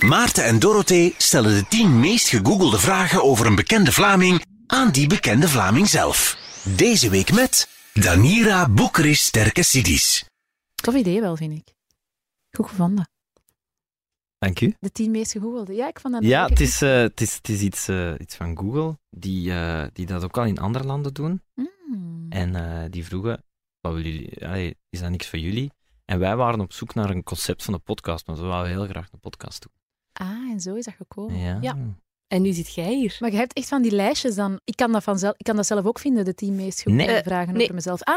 Maarten en Dorothee stellen de 10 meest gegoogelde vragen over een bekende Vlaming aan die bekende Vlaming zelf. Deze week met Danira Boekeris Sterke Sidis. Tof idee wel, vind ik. Goed gevonden. Dank u. De tien meest gegoogelde. Ja, ik vond dat Ja, ook het echt- is, eh, het is, het is iets, eh, iets van Google die, eh, die dat ook al in andere landen doen. Mm. En eh, die vroegen, wat willen jullie, allee, is dat niks voor jullie? En wij waren op zoek naar een concept van een podcast, want we wouden heel graag een podcast doen. Ah, en zo is dat Oh, gekomen. Ja. Ja. En nu zit jij hier. Maar je hebt echt van die lijstjes dan. Ik kan dat, vanzelf, ik kan dat zelf ook vinden, de tien meest gegoogelde Nee. vragen Eh, Nee. over mezelf. Ah,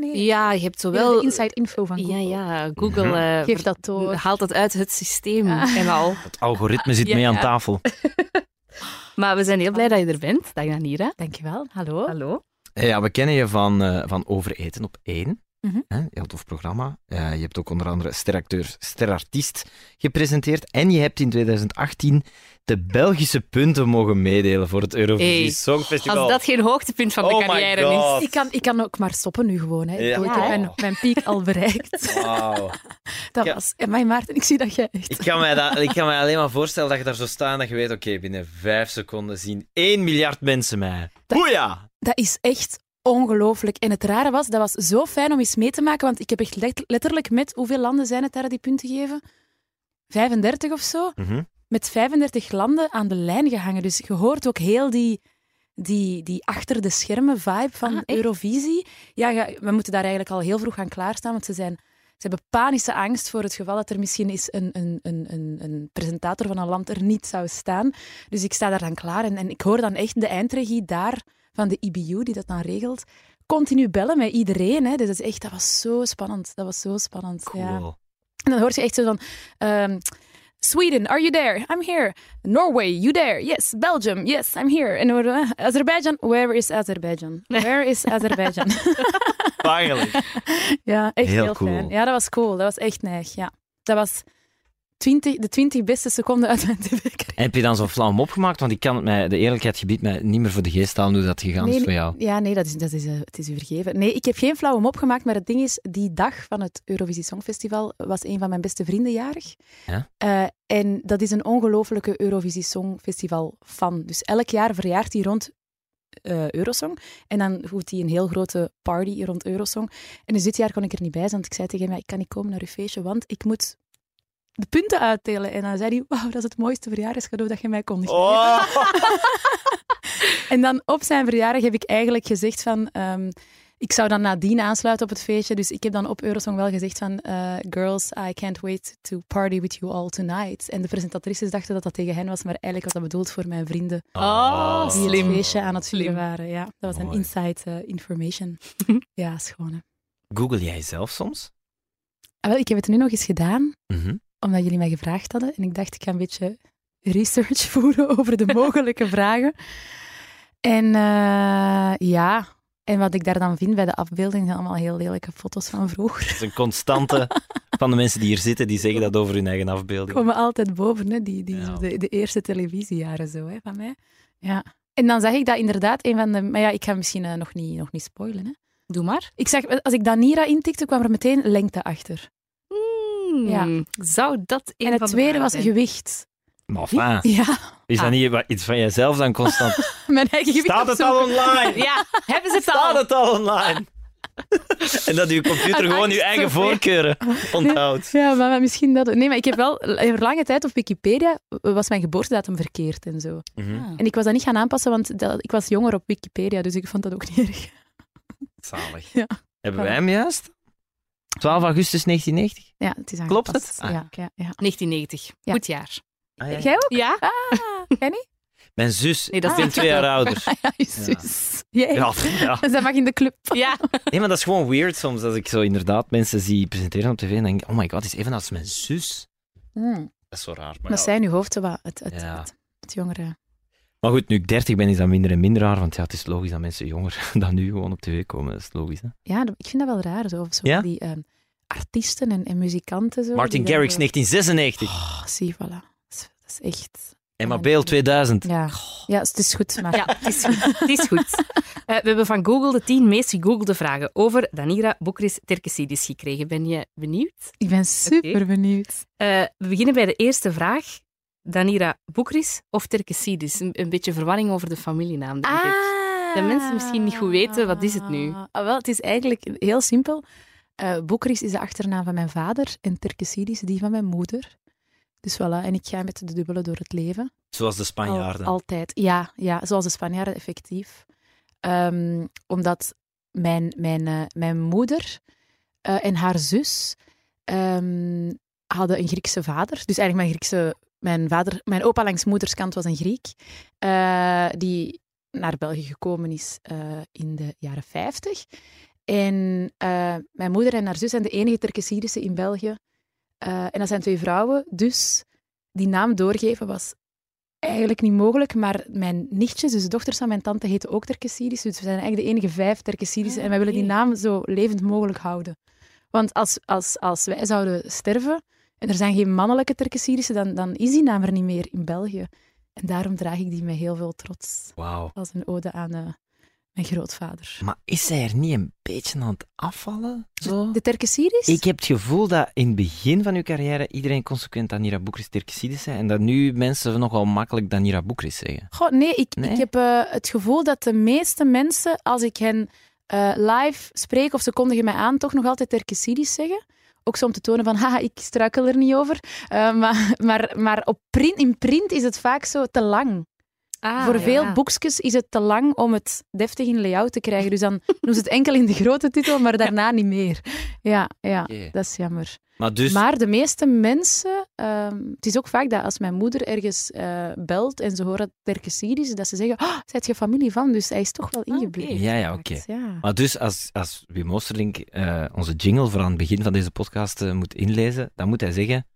nee. Ja, je hebt Wel... zowel... De inside info van Google. Ja, ja, Google Mhm. eh, Geef dat door. haalt dat uit het systeem Ja. en al. Het algoritme zit Ja. mee aan tafel. Maar we zijn heel blij dat je er bent. Dag Nanira. Dankjewel. Hallo. Hallo. Eh, Ja, we kennen je van, eh, van Overeten op één. Mhm. Hè, Heel tof programma. Eh, je hebt ook onder andere steracteur, sterartiest gepresenteerd. En je hebt in 2018 de Belgische punten mogen meedelen voor het Eurovisie Hey, Songfestival. Als dat geen hoogtepunt van de Oh my carrière is. God. Ik kan, ik kan ook maar stoppen nu gewoon. Hè. Ik Ja. bedoel, Ik heb mijn, mijn piek al bereikt. Wauw. Dat Ja. was... En mijn Maarten, ik zie dat jij echt... Ik kan, mij dat, ik kan mij alleen maar voorstellen dat je daar zo staat en dat je weet, oké, binnen vijf seconden zien 1 miljard mensen mij. Boeia! Dat is echt ongelooflijk. En het rare was, dat was zo fijn om eens mee te maken, want ik heb echt let- letterlijk met... Hoeveel landen zijn het daar die punten geven? 35 of zo? Mhm. Met 35 landen aan de lijn gehangen. Dus je hoort ook heel die... Die, die achter de schermen vibe van Ah, echt? Eurovisie. Ja, ja, we moeten daar eigenlijk al heel vroeg gaan klaarstaan, want ze, zijn, ze hebben panische angst voor het geval dat er misschien eens een, een, een, een, een presentator van een land er niet zou staan. Dus ik sta daar dan klaar en, en ik hoor dan echt de eindregie daar van de IBU, die dat dan regelt, continu bellen met iedereen. Hè. Dus dat, is echt, dat was zo spannend. Dat was zo spannend. Ja. Cool. En dan hoort je echt zo van... ehm, Sweden, are you there? I'm here. Norway, you there? Yes. Belgium, yes, I'm here. En dan horen we, eh, Azerbeidzjan, where is Azerbeidzjan? Where is Azerbeidzjan? Finally. ja, echt Heel heel, cool. fijn. Ja, dat was cool. Dat was echt neig, ja. Dat was 20, de 20 beste seconden uit mijn tv-carrière. En heb je dan zo'n vlam opgemaakt? Want ik kan het mij, de eerlijkheid gebiedt mij niet meer voor de geest halen hoe dat gegaan is Nee, voor jou. Ja, nee, dat is, dat is, eh, het is u vergeven. Nee, ik heb geen flauw om opgemaakt, maar het ding is, die dag van het Eurovisie Songfestival was een van mijn beste vrienden jarig. Ja. Eh, en dat is een ongelofelijke Eurovisie Songfestival fan. Dus elk jaar verjaart hij rond eh, Eurosong. En dan voert hij een heel grote party rond Eurosong. En dus dit jaar kon ik er niet bij zijn, want ik zei tegen hem, ja, ik kan niet komen naar uw feestje, want ik moet de punten uitdelen. En dan zei hij, wauw, dat is het mooiste verjaardagscadeau dat je mij kon geven. Oh. En dan op zijn verjaardag heb ik eigenlijk gezegd van... ehm, ik zou dan nadien aansluiten op het feestje. Dus ik heb dan op Eurosong wel gezegd van... eh, Girls, I can't wait to party with you all tonight. En de presentatrices dachten dat dat tegen hen was. Maar eigenlijk was dat bedoeld voor mijn vrienden. Oh, Ah. Die slim. het feestje aan het vieren Slim. waren. Ja, dat was een Mooi. inside eh, information. ja, schoon hè. Google jij zelf soms? Ah, wel, ik heb het nu nog eens gedaan. Mhm. Omdat jullie mij gevraagd hadden. En ik dacht, ik ga een beetje research voeren over de mogelijke vragen. En eh, ja, en wat ik daar dan vind bij de afbeelding zijn allemaal heel lelijke foto's van vroeger. Dat is een constante van de mensen die hier zitten, die zeggen dat over hun eigen afbeelding. Komen altijd boven, hè? Die, die, Ja. de, de eerste televisiejaren zo hè, van mij. Ja. En dan zag ik dat inderdaad een van de. Maar ja, ik ga misschien eh, nog, niet, nog niet spoilen. Hè. Doe maar. Ik zag, als ik Danira intikte, kwam er meteen lengte achter. Ja. Hmm. Zou dat een En van het de tweede vragen was zijn? gewicht. Maar enfin, Ja, is dat Ah. niet wat- iets van jijzelf dan constant? mijn eigen gewicht. Staat het opzoeken. al online? Ja, hebben ze het Staat al? het al online? en dat uw computer Uit gewoon angst uw eigen voor- voorkeuren onthoudt. Ja, maar, maar misschien dat... Nee, maar ik heb wel... Voor lange tijd op Wikipedia eh, was mijn geboortedatum verkeerd en zo. Mhm. Ah. En ik was dat niet gaan aanpassen, want dat- ik was jonger op Wikipedia, dus ik vond dat ook niet erg. Zalig. Ja. Hebben wij hem juist? 12 augustus 1990. Ja, het is Klopt aangepast. het? Ah. Ja, ja, ja. 1990. Ja. Goed jaar. Jij ook? Ja? Jij niet? Mijn zus, Nee, dat ik ben vind ik twee jaar wel. ouder. Ah, Ja, je zus. Jij. Ja, ja. Dus dat mag in de club. Ja. Nee, maar dat is gewoon weird soms als ik zo inderdaad mensen zie presenteren op tv en denk, oh my god, is even als mijn zus. Dat is zo raar. Maar, Dat ja. zijn uw hoofd zo wat, het, het, Hmm. Ja. het, het jongere... maar goed, nu ik 30 ben, is dat minder en minder raar, want ja, het is logisch dat mensen jonger dan nu gewoon op tv komen. Dat is logisch, hè? Ja, dat- ik vind dat wel raar, zo. Of zo Ja? die ehm, artiesten en, en muzikanten. Zo, Martin die dan Garrix, zo- 1996. Oh, zie, voilà. Dat is, dat is echt... Emma Beel, 2000. Ja. ja, het is goed, maar... Ja, het is goed. Het is goed. Eh, we hebben van Google de tien meest gegoogelde vragen over Danira Boekris Terkesidis gekregen. Ben je benieuwd? Ik ben super benieuwd. Eh, we beginnen bij de eerste vraag. Danira Boekris of Terkesidis? Een, een beetje verwarring over de familienaam, denk ik. Dat mensen misschien niet goed weten, wat is het nu? Ah, wel, het is eigenlijk heel simpel. Eh Boekris is de achternaam van mijn vader en Terkesidis die van mijn moeder. Dus voilà, en ik ga met de dubbele door het leven. Zoals de Spanjaarden. Al- altijd, ja, ja. Zoals de Spanjaarden, effectief. Ehm, omdat mijn, mijn, eh, mijn moeder eh, en haar zus ehm, hadden een Griekse vader. Dus eigenlijk mijn Griekse... Mijn, vader, mijn opa langs moederskant was een Griek. eh, die naar België gekomen is eh, in de jaren 50. En eh, mijn moeder en haar zus zijn de enige Turkse in België. Eh, en dat zijn twee vrouwen. Dus die naam doorgeven was eigenlijk niet mogelijk, maar mijn nichtjes, dus de dochters van mijn tante, heten ook Terkesirische. Dus we zijn eigenlijk de enige vijf Terkesirische. Ah, en wij willen die oké. naam zo levend mogelijk houden. Want als, als, als wij zouden sterven en er zijn geen mannelijke Terkesirische, dan, dan is die naam er niet meer in België. En daarom draag ik die met heel veel trots Wauw. als een ode aan eh, mijn grootvader. Maar is zij er niet een beetje aan het afvallen? Zo? De Terkesiris? Ik heb het gevoel dat in het begin van uw carrière iedereen consequent Danira Boekris Terkesides zei en dat nu mensen nogal makkelijk Danira Boekris zeggen. Goh, nee, ik, Nee? ik heb eh, het gevoel dat de meeste mensen, als ik hen eh, live spreek of ze kondigen mij aan, toch nog altijd Terkesiris zeggen. Ook zo om te tonen van, haha, ik struikel er niet over. Eh, maar maar, maar op print, in print is het vaak zo te lang. Ah, Voor veel boekjes is het te lang om het deftig in layout te krijgen. Dus dan doen ze het enkel in de grote titel, maar daarna niet meer. Ja, ja, Oké. dat is jammer. Maar dus, Maar de meeste mensen, ehm, het is ook vaak dat als mijn moeder ergens eh, belt en ze horen dat het Terkesier is, dat ze zeggen, oh, zijt je familie van, dus hij is toch wel ingebleven. Ja, ja, oké. Ja. Maar dus als, als Wim Oosterdink eh, onze jingle voor aan het begin van deze podcast eh, moet inlezen, dan moet hij zeggen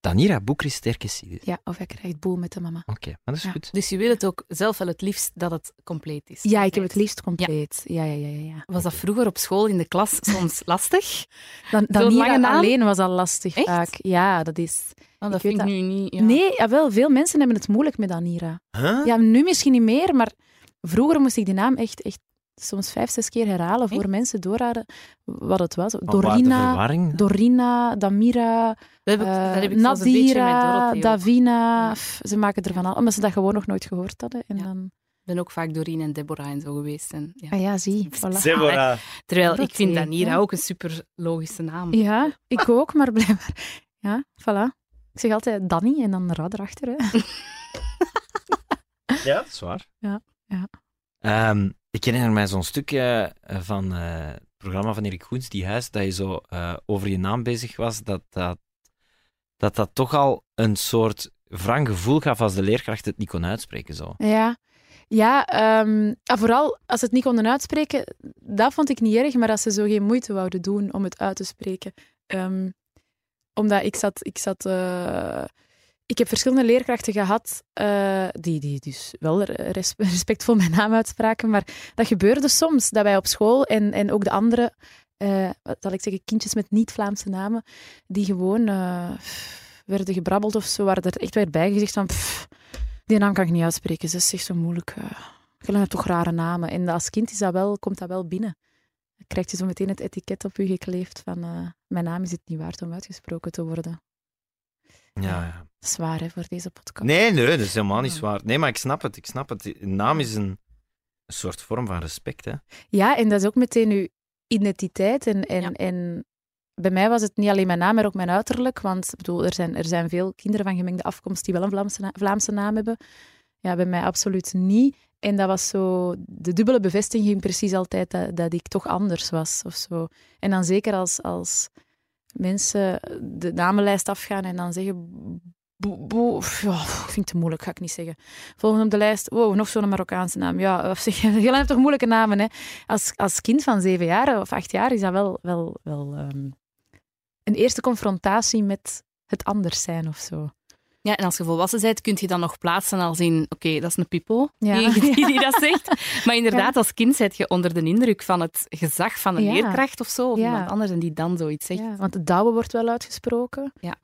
Danira Boekris Terkesides. ja, of hij krijgt boel met de mama. Oké, maar dat is Ja. goed. Dus je wil het ook zelf wel het liefst dat het compleet is. Ja, ik heb het liefst compleet. Ja, ja, ja. ja, ja. Was dat vroeger op school in de klas soms lastig? Dan, dan Zo'n hier lange naam? alleen was al lastig Echt? vaak. Ja, dat is... Want Ik weet dat vind ik dat- nu niet. ja. Nee, jawel, veel mensen hebben het moeilijk met Anira. Huh? Ja, nu misschien niet meer, maar vroeger moest ik die naam echt, echt soms vijf, zes keer herhalen voor Echt? mensen doorraden wat het was. Maar waar de Dorina, verwarring? Dorina, Damira... Dat heb ik, Eh, dat heb ik zelfs een beetje met Nadira, Dorothy. ook. Davina, Ja. pff, ze maken er van al, omdat ze dat gewoon nog nooit gehoord hadden. En Ja. dan, Ik ben ook vaak Doreen en Deborah en zo geweest. En, ja. ah ja, zie, voilà. Deborah. Terwijl Dat ik vind weet, Danira ja. ook een super logische naam. Ja, ik ook, maar blijkbaar. Ja, voilà. Ik zeg altijd Danny en dan Ra erachter. Hè. Ja, dat is waar. Ehm, ik herinner mij zo'n stukje van eh, het programma van Erik Goens, Die Huis, dat je zo eh, over je naam bezig was, dat dat, dat dat toch al een soort wrang gevoel gaf als de leerkracht het niet kon uitspreken. Zo. Ja, ja ehm, ah, vooral als ze het niet konden uitspreken, dat vond ik niet erg, maar als ze zo geen moeite wouden doen om het uit te spreken. Ehm, omdat ik zat, ik zat, eh, ik heb verschillende leerkrachten gehad eh, die, die dus wel re- res- respectvol mijn naam uitspraken, maar dat gebeurde soms, dat wij op school en, en ook de andere, eh, wat zal ik zeggen, kindjes met niet-Vlaamse namen, die gewoon eh, werden gebrabbeld of zo, waar er echt werd bijgezegd van... "Pff, die naam kan ik niet uitspreken. Ze is echt zo moeilijk. eh. Jullie hebben toch rare namen. En als kind is dat wel, komt dat wel binnen. Dan krijg je zo meteen het etiket op je gekleefd van eh, mijn naam is het niet waard om uitgesproken te worden. Ja, Zwaar hè, voor deze podcast. Nee, nee, dat is helemaal niet zwaar. Nee, maar ik snap het. Ik snap het. Een naam is een, een soort vorm van respect. Hè? Ja, en dat is ook meteen uw identiteit. En, en, Ja. en bij mij was het niet alleen mijn naam, maar ook mijn uiterlijk. Want ik bedoel, er, zijn, er zijn veel kinderen van gemengde afkomst die wel een Vlaamse, na- Vlaamse naam hebben. Ja, bij mij absoluut niet. En dat was zo de dubbele bevestiging precies altijd dat, dat ik toch anders was of zo. En dan zeker als, als mensen de namenlijst afgaan en dan zeggen... Boe, boe, pff, ja, pff, vind ik te moeilijk, ga ik niet zeggen. Volgende op de lijst, wow, nog zo'n Marokkaanse naam. Ja, of zeg, jullie hebben toch moeilijke namen, hè? als, als kind van zeven jaar of acht jaar is dat wel, wel, wel ehm, een eerste confrontatie met het anders zijn of zo. Ja, en als je volwassen bent, kun je dan nog plaatsen als in... Oké, dat is een pipo Ja. die, die, die dat zegt. Maar inderdaad, als kind zit je onder de indruk van het gezag van een Ja. leerkracht of zo. Of Ja. iemand anders en die dan zoiets zegt. Ja, want douwe wordt wel uitgesproken. Ja.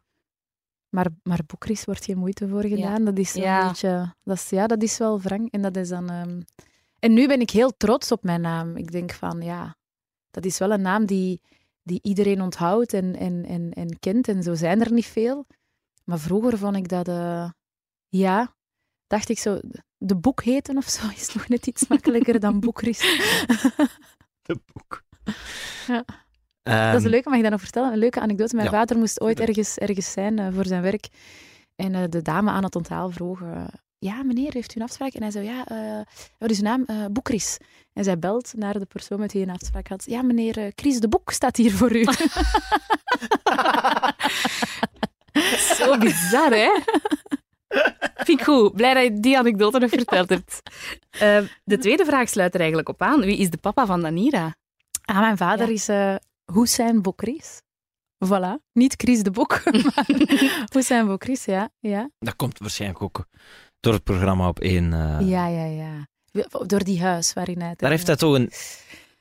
Maar, maar boekris wordt geen moeite voor gedaan. Dat is zo'n Ja. beetje... Dat is, ja, dat is wel wrang. En dat is dan... ehm, En nu ben ik heel trots op mijn naam. Ik denk van, ja... Dat is wel een naam die, die iedereen onthoudt en, en, en, en kent. En zo zijn er niet veel. Maar vroeger vond ik dat... eh, Ja, dacht ik zo. De boek heten of zo is nog net iets makkelijker dan boekrist. De boek. dat is Ehm, een leuke, mag ik dat nog vertellen? Een leuke anekdote. Mijn Ja. vader moest ooit Tuurlijk. ergens, ergens zijn eh, voor zijn werk. En eh, de dame aan het onthaal vroeg... eh, ja, meneer, heeft u een afspraak? En hij zei, ja, eh, wat is uw naam? Eh Boekris. En zij belt naar de persoon met wie hij een afspraak had. Ja, meneer, eh, Chris de Boek staat hier voor u. Zo bizar, hè? Vind ik goed. Blij dat je die anekdote nog verteld hebt. Eh, de tweede vraag sluit er eigenlijk op aan. Wie is de papa van Danira? Ah, mijn vader Ja. is eh Hussein Bokris. Voilà. Niet Chris de Boek, maar Hussein Bokris, ja. Ja, dat komt waarschijnlijk ook door het programma op één. eh. ja, ja. ja. Door die huis waarin hij... eh, Daar heeft dat toch een,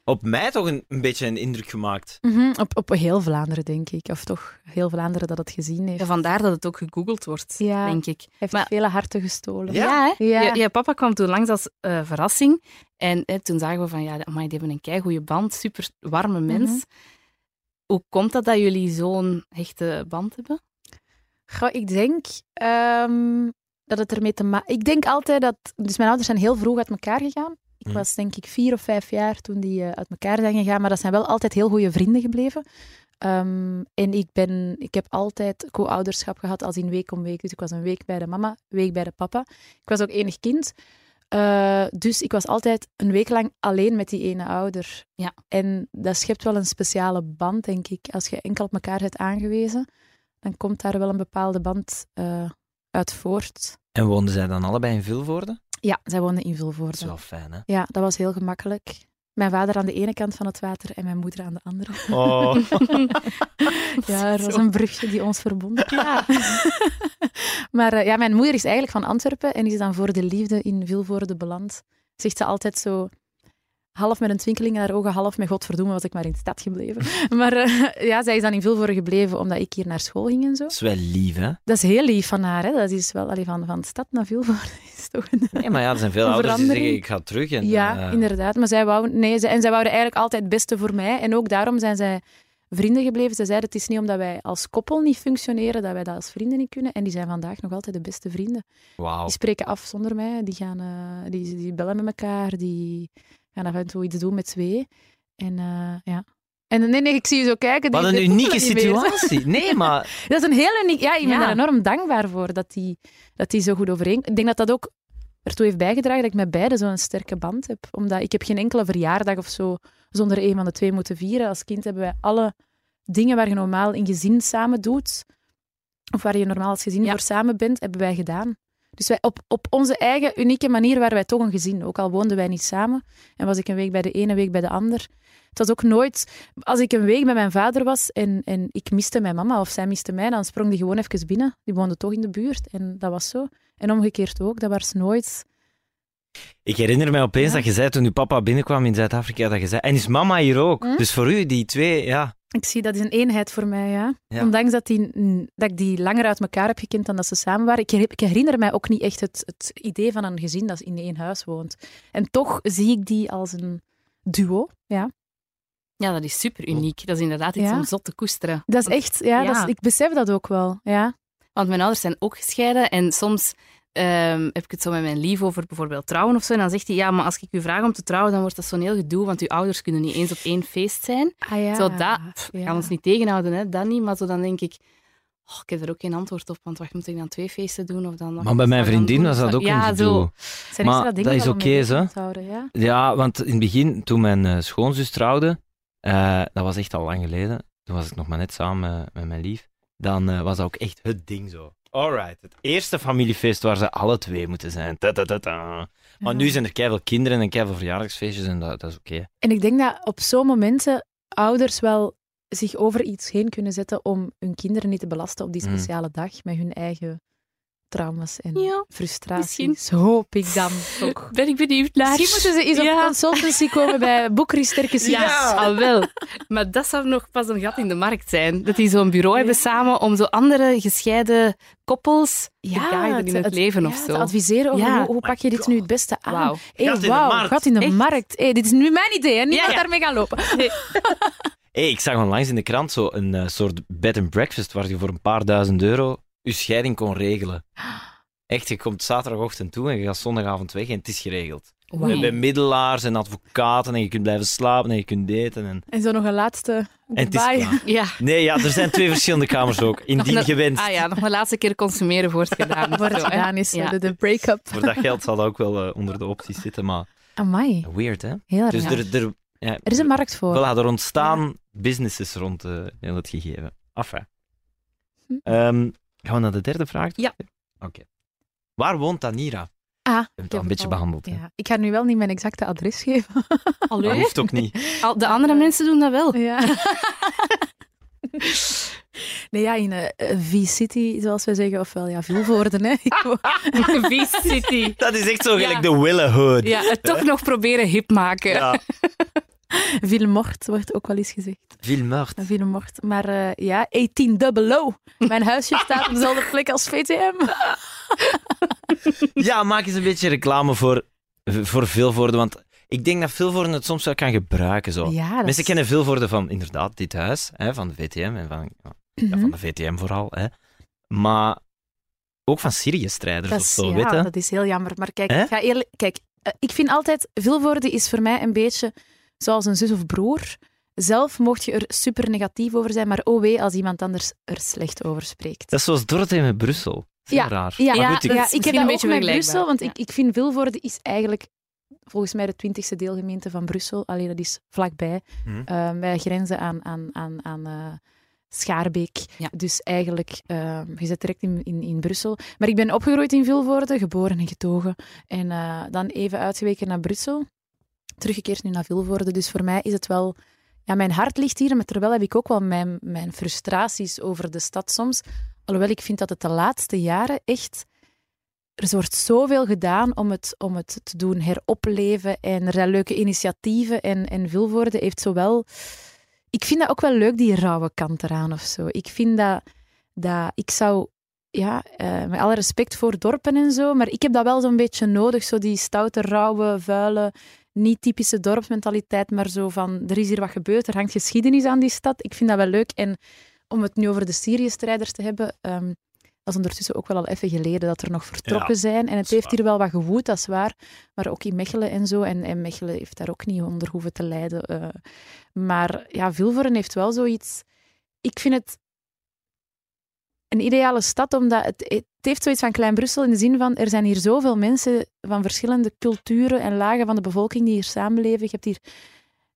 op mij toch een, een beetje een indruk gemaakt. Mhm, op, op heel Vlaanderen, denk ik. Of toch heel Vlaanderen dat het gezien heeft. Ja, vandaar dat het ook gegoogeld wordt, Ja. denk ik. heeft maar- vele harten gestolen. Ja. hè? Ja. Je, je papa kwam toen langs als eh, verrassing. En eh, toen zagen we van, ja, amai, die hebben een keigoede band. Super warme mens. Mhm. Hoe komt dat dat jullie zo'n hechte band hebben? Goh, ik denk ehm, dat het ermee te maken... Ik denk altijd dat... Dus mijn ouders zijn heel vroeg uit elkaar gegaan. Ik Mm. Mhm. was denk ik vier of vijf jaar toen die eh, uit elkaar zijn gegaan. Maar dat zijn wel altijd heel goede vrienden gebleven. Ehm, en ik, ben, ik heb altijd co-ouderschap gehad, als in week om week. Dus ik was een week bij de mama, week bij de papa. Ik was ook enig kind. Eh, dus ik was altijd een week lang alleen met die ene ouder. Ja. En dat schept wel een speciale band, denk ik. Als je enkel op elkaar hebt aangewezen, dan komt daar wel een bepaalde band eh, uit voort. En woonden zij dan allebei in Vilvoorde? Ja, zij woonde in Vilvoorde. Dat is wel fijn, hè? Ja, dat was heel gemakkelijk. Mijn vader aan de ene kant van het water en mijn moeder aan de andere. Oh. Ja, er was Zo. een brugje die ons verbond. Ja. maar eh, ja, mijn moeder is eigenlijk van Antwerpen en is dan voor de liefde in Vilvoorde beland. Zegt ze altijd zo, half met een twinkeling in haar ogen, half met godverdomme was ik maar in de stad gebleven. maar eh, ja, zij is dan in Vilvoorde gebleven omdat ik hier naar school ging en zo. Dat is wel lief, hè? Dat is heel lief van haar, hè. Dat is wel, allee, van, van stad naar Vilvoorde is toch een... Nee, maar ja, er zijn veel Een ouders die verandering. zeggen, ik ga terug. En, Ja, eh, inderdaad. Maar zij wou, nee, zij, en zij wouden eigenlijk altijd het beste voor mij. En ook daarom zijn zij vrienden gebleven. Ze zeiden, het is niet omdat wij als koppel niet functioneren, dat wij dat als vrienden niet kunnen. En die zijn vandaag nog altijd de beste vrienden. Wauw. Die spreken af zonder mij. Die, gaan, eh, die, die bellen met elkaar. Die gaan af en toe iets doen met twee. En eh, ja... En nee, nee, ik zie je zo kijken. die- Wat een die koppelen unieke niet meer. situatie. Nee, maar Dat is een heel uniek... Ja, ik ben Ja. daar enorm dankbaar voor, dat die, dat die zo goed overeen... Ik denk dat dat ook ertoe heeft bijgedragen dat ik met beiden zo'n sterke band heb. Omdat ik heb geen enkele verjaardag of zo zonder een van de twee moeten vieren. Als kind hebben wij alle dingen waar je normaal in gezin samen doet, of waar je normaal als gezin Ja. voor samen bent, hebben wij gedaan. Dus wij op, op onze eigen unieke manier waren wij toch een gezin. Ook al woonden wij niet samen en was ik een week bij de ene, een week bij de ander. Het was ook nooit... Als ik een week bij mijn vader was en, en ik miste mijn mama of zij miste mij, dan sprong die gewoon even binnen. Die woonde toch in de buurt en dat was zo. En omgekeerd ook, dat was nooit... ik herinner mij opeens Ja. dat je zei toen je papa binnenkwam in Zuid-Afrika, dat je zei, en is mama hier ook? Hm? Dus voor u, die twee, ja. Ik zie, dat is een eenheid voor mij, ja. Ja. Ondanks dat, die, dat ik die langer uit elkaar heb gekend dan dat ze samen waren. Ik, her- ik herinner mij ook niet echt het, het idee van een gezin dat in één huis woont. En toch zie ik die als een duo, ja. Ja, dat is super uniek. Dat is inderdaad iets Ja. om zot te koesteren. Dat is echt, ja, Ja. Dat is- ik besef dat ook wel, ja. Want mijn ouders zijn ook gescheiden en soms ehm, heb ik het zo met mijn lief over bijvoorbeeld trouwen of zo. En dan zegt hij, ja, maar als ik u vraag om te trouwen, dan wordt dat zo'n heel gedoe, want uw ouders kunnen niet eens op één feest zijn. Ah ja. Zo dat, pff, ik kan ons niet tegenhouden, hè, dat niet. Maar zo dan denk ik, oh, ik heb er ook geen antwoord op, want wacht, moet ik dan twee feesten doen? Of dan, Maar bij mijn vriendin was dat ook een ja, gedoe. Zo. Zijn Maar extra dingen dat is wel om oké, mee bezig hè? te houden, ja. Ja, want in het begin, toen mijn eh, schoonzus trouwde, eh, dat was echt al lang geleden, toen was ik nog maar net samen eh, met mijn lief, dan eh, was dat ook echt het ding zo. Alright, het eerste familiefeest waar ze alle twee moeten zijn. Ta -ta -ta -ta. Maar Ja. nu zijn er keiveel kinderen en keiveel verjaardagsfeestjes en dat, dat is oké. En ik denk dat op zo'n momenten ouders wel zich over iets heen kunnen zetten om hun kinderen niet te belasten op die Mm. speciale dag met hun eigen trauma's en Ja, frustraties. Hoop ik dan toch. Ben ik benieuwd naar. Misschien moeten ze eens op Ja. consultancy komen bij Boekristerke Ja, al wel. Maar dat zou nog pas een gat in de markt zijn. Dat die zo'n bureau hebben Ja. samen om zo andere gescheiden koppels te guiden in het, leven ja, of zo. Te adviseren over Ja. hoe, hoe Oh pak je dit nu het beste aan. Wauw. Hey, Gat in de wauw, markt. gat in de Echt? markt. Hey, dit is nu mijn idee, hè. niemand Ja. daarmee gaan lopen. Hey, ik zag onlangs in de krant zo een eh, soort bed and breakfast waar je voor een paar duizend euro je scheiding kon regelen. Echt, je komt zaterdagochtend toe en je gaat zondagavond weg en het is geregeld. Wauw. Je bent middelaars en advocaten en je kunt blijven slapen en je kunt daten. En... En zo nog een laatste En het is goodbye. klaar. Ja. Nee, ja, er zijn twee verschillende kamers ook. Indien Nog een- gewenst. Ah ja, nog een laatste keer consumeren wordt gedaan. Voor het Zo, hè. gedaan is, Ja. de, de break-up. Voor dat geld zal dat ook wel eh, onder de opties zitten, maar Amai, weird, hè? heel Dus raar. er, er, ja, Er is een markt voor. Voilà, er ontstaan businesses rond eh, heel het gegeven. Enfin. Hm. Ehm, gaan we naar de derde vraag? Ja. Oké. Waar woont Tanira? We Ah, hebben het heb al een beetje al- behandeld. hè. ja. Ik ga nu wel niet mijn exacte adres geven. Dat Allee? hoeft ook niet. Al- De andere mensen doen dat wel. Ja. Nee, ja, in eh, eh, V-City, zoals wij zeggen, ofwel ja, Vilvoorden. Hè. Ik wo- V-City. Dat is echt zo Ja. gelijk de Willehood. Ja, het toch nog proberen hip maken. Ja. Villemort wordt ook wel eens gezegd. Villemort. Villemort. Maar eh, ja, 18 double O. Mijn huisje staat op dezelfde plek als VTM. Ja, maak eens een beetje reclame voor, voor Vilvoorde, want ik denk dat Vilvoorde het soms wel kan gebruiken. Zo. Ja, dat Mensen is- kennen Vilvoorde van inderdaad dit huis, hè, van de VTM en van, ja, Mhm. van de VTM vooral. Hè. Maar ook van Syrië-strijders Dat of is, zo, ja, weet je? dat is heel jammer. Maar kijk, Hè? ik, ga eerlijk, kijk eh, ik vind altijd, Vilvoorde is voor mij een beetje zoals een zus of broer. Zelf mocht je er super negatief over zijn, maar oh wee als iemand anders er slecht over spreekt. Dat is zoals Dorothee met Brussel. Heel raar. Ja, maar ja, goed, ik- dat ja, is ik heb misschien dat een ook beetje met vergelijkbaar. Brussel, want Ja. ik, ik vind Vilvoorde is eigenlijk volgens mij de twintigste deelgemeente van Brussel. Alleen dat is vlakbij. Hmm. Hm. Eh, wij grenzen aan, aan, aan, aan eh, Schaarbeek. Ja. Dus eigenlijk, eh, je zit direct in, in, in Brussel. Maar ik ben opgegroeid in Vilvoorde, geboren en getogen. En eh, dan even uitgeweken naar Brussel. Teruggekeerd nu naar Vilvoorde. Dus voor mij is het wel... Ja, mijn hart ligt hier, maar terwijl heb ik ook wel mijn, mijn frustraties over de stad soms. Alhoewel ik vind dat het de laatste jaren echt... Er wordt zoveel gedaan om het, om het te doen heropleven. En er zijn leuke initiatieven. En, en Vilvoorde heeft zowel... Ik vind dat ook wel leuk, die rauwe kant eraan of zo. Ik vind dat... dat ik zou... Ja, eh, met alle respect voor dorpen en zo, maar ik heb dat wel zo'n beetje nodig. Zo die stoute, rauwe, vuile, niet typische dorpsmentaliteit, maar zo van... Er is hier wat gebeurd, er hangt geschiedenis aan die stad. Ik vind dat wel leuk. En om het nu over de Syrië-strijders te hebben... ehm, dat is ondertussen ook wel al even geleden dat er nog vertrokken zijn. En het is heeft waar. hier wel wat gewoed, dat is waar. Maar ook in Mechelen en zo. En, en Mechelen heeft daar ook niet onder hoeven te lijden. eh. maar ja, Vilvoren heeft wel zoiets... Ik vind het een ideale stad, omdat het, het heeft zoiets van Klein-Brussel in de zin van er zijn hier zoveel mensen van verschillende culturen en lagen van de bevolking die hier samenleven. Je hebt hier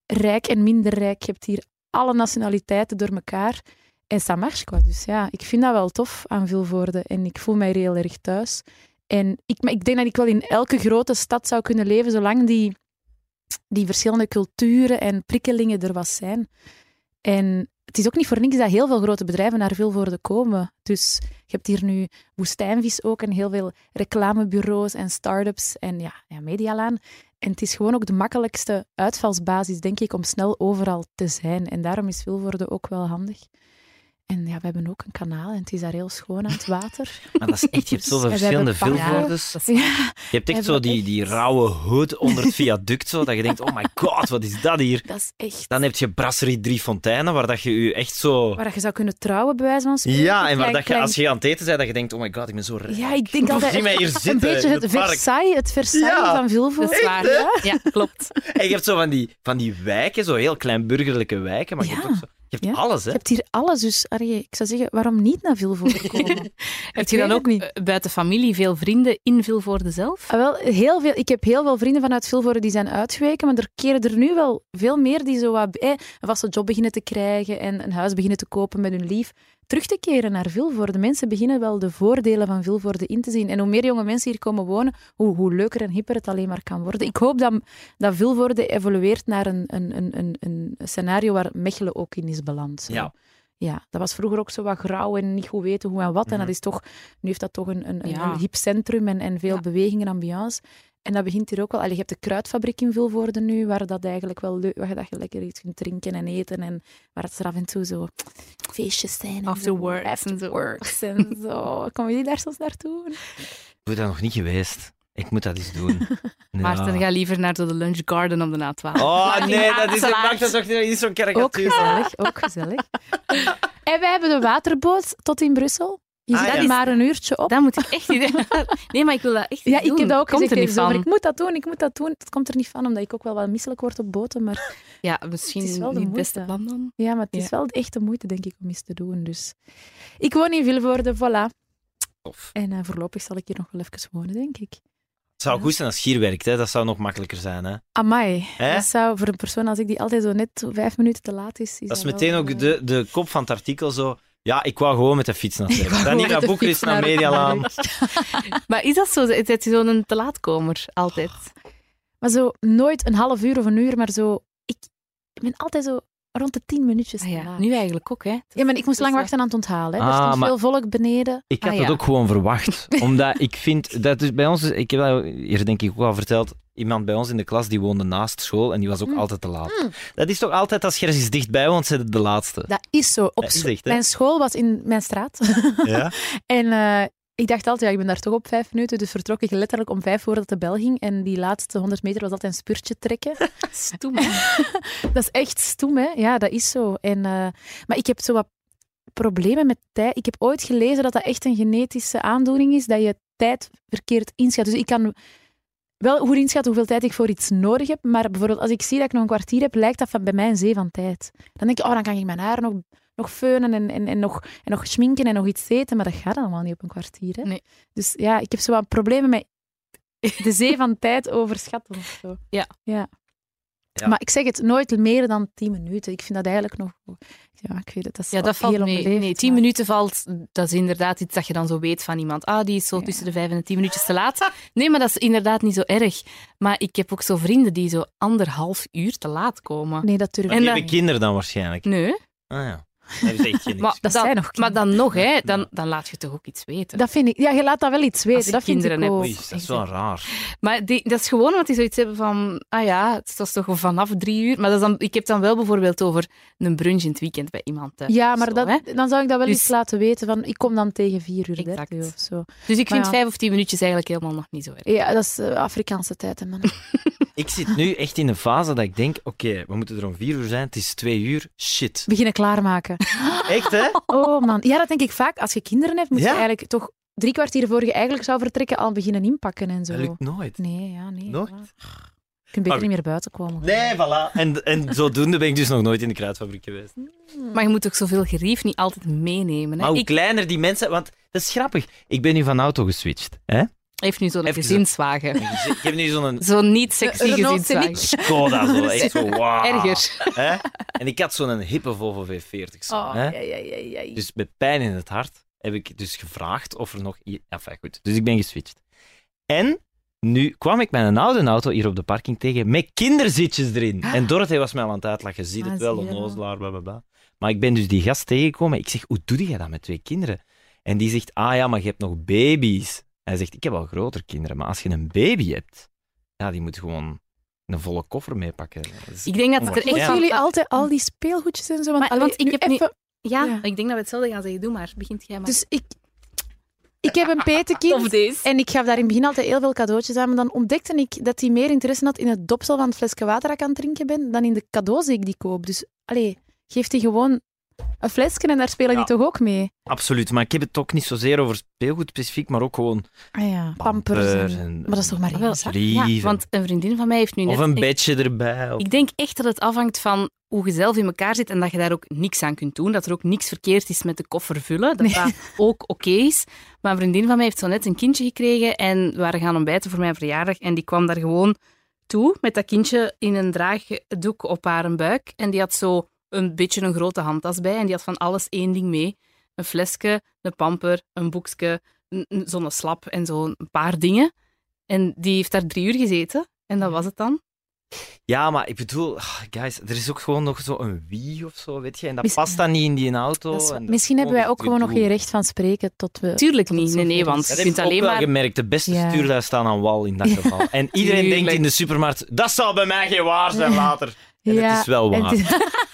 rijk en minder rijk. Je hebt hier alle nationaliteiten door elkaar. En Samarskwa. Dus ja, ik vind dat wel tof aan Vilvoorde. En ik voel mij er heel erg thuis. En ik, maar ik denk dat ik wel in elke grote stad zou kunnen leven, zolang die, die verschillende culturen en prikkelingen er was zijn. En het is ook niet voor niks dat heel veel grote bedrijven naar Vilvoorde komen. Dus je hebt hier nu Woestijnvis ook en heel veel reclamebureaus en start-ups en ja, ja, medialaan. En het is gewoon ook de makkelijkste uitvalsbasis, denk ik, om snel overal te zijn. En daarom is Vilvoorde ook wel handig. En ja, we hebben ook een kanaal en het is daar heel schoon aan het water. Maar dat is echt, je hebt zoveel En ze verschillende hebben pakken. Vilvoordes. Ja. Je hebt echt Hebben zo we die, echt. die rauwe hood onder het viaduct, zo, dat je denkt, oh my god, wat is dat hier? Dat is echt. Dan heb je Brasserie Drie Fonteinen, waar dat je je echt zo... Waar dat je zou kunnen trouwen, bij wijze van spreken. Ja, en waar eh, Klein- dat je, klein- als je aan het eten bent, dat je denkt, oh my god, ik ben zo rijk. Ja, ik denk altijd... Zie mij hier zitten een beetje in het het park. Versailles, het Versailles Ja, van Dat Vilvoorde. is waar. Ja. Ja, klopt. En je hebt zo van die, van die wijken, zo heel klein burgerlijke wijken, maar je Ja. hebt, ook zo, je hebt Ja. alles, hè. Je hebt hier alles, dus Arje, ik zou zeggen, waarom niet naar Vilvoorde komen? Heb je weet dan het ook niet. eh, buiten familie veel vrienden in Vilvoorde zelf? Ah, wel, heel veel, ik heb heel veel vrienden vanuit Vilvoorde die zijn uitgeweken, maar er keren er nu wel veel meer die zo wat, eh, een vaste job beginnen te krijgen en een huis beginnen te kopen met hun lief. Terug te keren naar Vilvoorde. Mensen beginnen wel de voordelen van Vilvoorde in te zien. En hoe meer jonge mensen hier komen wonen, hoe, hoe leuker en hipper het alleen maar kan worden. Ik hoop dat, dat Vilvoorde evolueert naar een, een, een, een, een scenario waar Mechelen ook in is beland. Zo. Ja. Ja, dat was vroeger ook zo wat grauw en niet goed weten hoe en wat. En dat Mhm. is toch, nu heeft dat toch een, een, een, Ja. een hip centrum en, en veel Ja. beweging en ambiance. En dat begint hier ook wel. Allee, je hebt de kruidfabriek in Vilvoorde nu, waar dat eigenlijk wel leuk, waar je dat je lekker iets kunt drinken en eten. En waar het er af en toe zo feestjes zijn. en After zo, works en zo. after works en zo. Komen jullie daar soms naartoe? Ik ben daar nog niet geweest. Ik moet dat eens doen. Ja. Maarten, ga liever naar zo de Lunch Garden op de A12. Oh nee, dat is, Maarten, maakt dat toch niet zo'n Ook karikatuur. gezellig, ook gezellig. en wij hebben de waterboot tot in Brussel. Je Ah, zit ja. maar een uurtje op. Dat moet ik echt niet... Nee, maar ik wil dat echt niet Ja, ik doen. heb dat ook Komt gezegd er niet tegen zomer, van. Ik moet dat doen, ik moet dat doen. Het komt er niet van, omdat ik ook wel wat misselijk word op boten. Maar Ja, misschien Het is wel de niet het beste moeite. plan dan. ja, maar het is Ja. wel echt de moeite, denk ik, om iets te doen. Dus ik woon in Vilvoorde, voilà. Tof. En eh, voorlopig zal ik hier nog wel even wonen, denk ik. Het zou goed zijn als Gier werkt, hè. dat zou nog makkelijker zijn. Hè? Amai, Hè? dat zou voor een persoon als ik die altijd zo net vijf minuten te laat is... is Dat is wel, meteen eh, ook de, de kop van het artikel zo. Ja, ik wou gewoon met de fiets naar Zurich. Dan gewoon niet naar met de Boekrist, fiets naar naar- Medialaan. Maar is dat zo? Is het zo'n te laatkomer altijd? Maar zo nooit een half uur of een uur, maar zo... Ik, ik ben altijd zo rond de tien minuutjes Ah te ja, laat. nu eigenlijk ook, hè? Ja, maar ik moest Dus lang dat- wachten aan het onthalen. Hè. Er Ah, stond maar- veel volk beneden. Ik had Ah, dat ja. ook gewoon verwacht. Omdat ik vind, dat is bij ons, ik heb dat hier denk ik ook al verteld, iemand bij ons in de klas die woonde naast school en die was ook Mm. altijd te laat. Mm. Dat is toch altijd als je ergens dichtbij woont, zijn het de laatste. Dat is zo. Op Dat is scho- echt, hè? mijn school was in mijn straat. Ja? en eh, ik dacht altijd, ja, ik ben daar toch op vijf minuten. Dus vertrok ik letterlijk om vijf voordat de bel ging. En die laatste 100 meter was altijd een spurtje trekken. Stoem. dat is echt stoem, hè? Ja, dat is zo. En, eh, maar ik heb zo wat problemen met tijd. Ik heb ooit gelezen dat dat echt een genetische aandoening is, dat je tijd verkeerd inschat. Dus ik kan wel goed inschatten hoeveel tijd ik voor iets nodig heb, maar bijvoorbeeld als ik zie dat ik nog een kwartier heb, lijkt dat van bij mij een zee van tijd. Dan denk ik, oh, dan kan ik mijn haar nog, nog feunen en, en, en, nog, en nog schminken en nog iets eten, maar dat gaat allemaal niet op een kwartier, hè? Nee. Dus ja, ik heb zo wat problemen met de zee van tijd overschatten of zo. Ja. ja. Ja. Maar ik zeg het nooit meer dan 10 minuten. Ik vind dat eigenlijk nog. Ja, ik weet het. Dat is Ja, dat heel valt mee. onbeleefd, Nee, tien maar- minuten valt, dat is inderdaad iets dat je dan zo weet van iemand. Ah, die is zo Ja. tussen de vijf en de tien minuutjes te laat. Nee, maar dat is inderdaad niet zo erg. Maar ik heb ook zo vrienden die zo anderhalf uur te laat komen. Nee, dat durf Maar ik die En dan- Mm. hebben kinderen dan waarschijnlijk. Nee, Ah ja, dat is echt geen maar, excuus. Dat dan, zijn nog maar kinderen. dan nog, hè, dan, dan laat je toch ook iets weten. Dat vind ik. Ja, je laat dat wel iets weten. je dat vind kinderen ik hebt. ook. Oei, dat is wel raar. Maar die, dat is gewoon omdat die zoiets hebben van, ah ja, het was toch vanaf drie uur. Maar dat is dan, ik heb dan wel bijvoorbeeld over een brunch in het weekend bij iemand. thuis Ja, of maar zo, dat, hè. dan zou ik dat wel Dus- eens laten weten. Van, ik kom dan tegen 4 uur Exact. 30 of zo. Dus ik Maar vind ja. vijf of tien minuutjes eigenlijk helemaal nog niet zo erg. Ja, dat is eh, Afrikaanse tijd, hè, mannen. Ik zit nu echt in een fase dat ik denk, oké, we moeten er om vier uur zijn, het is twee uur, shit. Beginnen klaarmaken. Echt, hè? Oh man. Ja, dat denk ik vaak. Als je kinderen hebt, moet Ja. je eigenlijk toch drie kwartier voor je eigenlijk zou vertrekken al beginnen inpakken en zo. Dat lukt nooit. Nee, ja, nee. Nooit? voilà. Je kunt beter Maar- niet meer buiten komen. Nee, voilà. En, en zodoende ben ik dus nog nooit in de kruidfabriek geweest. Mm. Maar je moet ook zoveel gerief niet altijd meenemen. Hè. Maar hoe ik kleiner die mensen... Want dat is grappig. Ik ben nu van auto geswitcht. Hè? heeft nu zo'n Even zo- gezinswagen. Ik heb nu zo'n Zo'n niet sexy Een Renault gezinswagen. Skoda. Zo, echt zo, wow. Erger. Hè? En ik had zo'n hippe Volvo V40. zo, Oh, hè? ja, ja, ja, ja, ja. Dus met pijn in het hart heb ik dus gevraagd of er nog... i- Enfin, goed. Dus ik ben geswitcht. En nu kwam ik met een oude auto hier op de parking tegen met kinderzitjes erin. Ah. En Dorothee was mij al aan het uitlachen. Zie Ah, het wel, zie je wel. onnozelaar, bla, bla, bla. Maar ik ben dus die gast tegengekomen. Ik zeg, hoe doe jij dat met twee kinderen? En die zegt, ah ja, maar je hebt nog baby's. Hij zegt, ik heb al grotere kinderen, maar als je een baby hebt, ja, die moet gewoon een volle koffer meepakken. Dat is- Ik denk dat het er echt Moeten Ja. jullie van- altijd al die speelgoedjes en zo? Want, Maar- allee, want ik nu heb nu- even- Ja, Ja. ik denk dat we hetzelfde gaan zeggen. Doe maar, begint jij maar. Dus ik, ik heb een of petekind. deze. En ik gaf daar in het begin altijd heel veel cadeautjes aan. Maar dan ontdekte ik dat hij meer interesse had in het dopsel van het flesje water dat ik aan het drinken ben, dan in de cadeaus die ik die koop. Dus allee, geeft hij gewoon een flesje en daar spelen Ja. die toch ook mee? Absoluut, maar ik heb het ook niet zozeer over speelgoed specifiek, maar ook gewoon Ah ja, pampers. en- pampers. en- Maar dat is toch maar Ah, één wel, zak? lief en- Ja, want een vriendin van mij heeft nu net... Of een echt- bedje erbij. Of... Ik denk echt dat het afhangt van hoe je zelf in elkaar zit en dat je daar ook niks aan kunt doen. Dat er ook niks verkeerd is met de koffer vullen. Dat Nee. dat ook oké is. Maar een vriendin van mij heeft zo net een kindje gekregen en we waren gaan ontbijten voor mijn verjaardag. En die kwam daar gewoon toe met dat kindje in een draagdoek op haar buik. En die had zo een beetje een grote handtas bij en die had van alles één ding mee. Een flesje, een pamper, een boekje, een- een- zo'n slap en zo'n paar dingen. En die heeft daar drie uur gezeten. En dat was het dan. Ja, maar ik bedoel, ah, guys, er is ook gewoon nog zo'n wie of zo, weet je. En dat Mis- past dan niet in die auto. Dat is- en dat Misschien is hebben wij ook het gewoon nog gedoe. geen recht van spreken tot we... Tuurlijk niet. het Nee, nee, zover want is. Dat je heb kunt ik ook alleen wel maar... gemerkt. De beste Ja. stuurlui staan aan wal in dat geval. En iedereen Tuurlijk. denkt in de supermarkt, dat zal bij mij geen waar zijn later. En Ja, het is wel en waar. het is-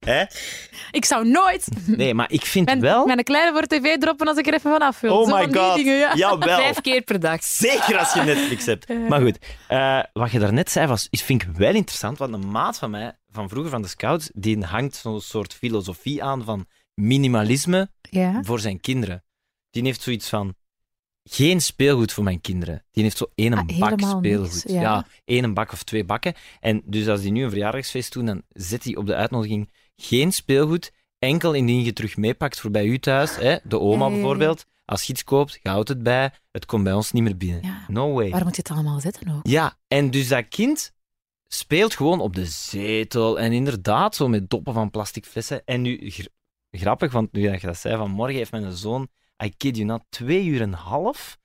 Hè? ik zou nooit Nee, maar ik vind mijn, wel... mijn kleine voor tv droppen als ik er even vanaf wil. Zo Oh my van die god, dingen, ja. jawel. Vijf keer per dag. Zeker als je Netflix hebt. Maar goed, eh, wat je daarnet zei, was, is, vind ik wel interessant. Want een maat van mij, van vroeger van de Scouts, die hangt zo'n soort filosofie aan van minimalisme Ja. voor zijn kinderen. Die heeft zoiets van, geen speelgoed voor mijn kinderen. Die heeft zo één Ah, bak helemaal speelgoed. niks, ja. ja. één bak of twee bakken. En dus als die nu een verjaardagsfeest doen, dan zet hij op de uitnodiging geen speelgoed, enkel indien je terug meepakt voor bij u thuis, hè, de oma Ja, ja, ja. bijvoorbeeld. Als je iets koopt, je houdt het bij, het komt bij ons niet meer binnen. Ja. No way. Waar moet je het allemaal zetten ook? Ja, en dus dat kind speelt gewoon op de zetel. En inderdaad, zo met doppen van plastic flessen. En nu, gr- grappig, want nu dat je dat zei, vanmorgen heeft mijn zoon, I kid you not, twee uur en een half,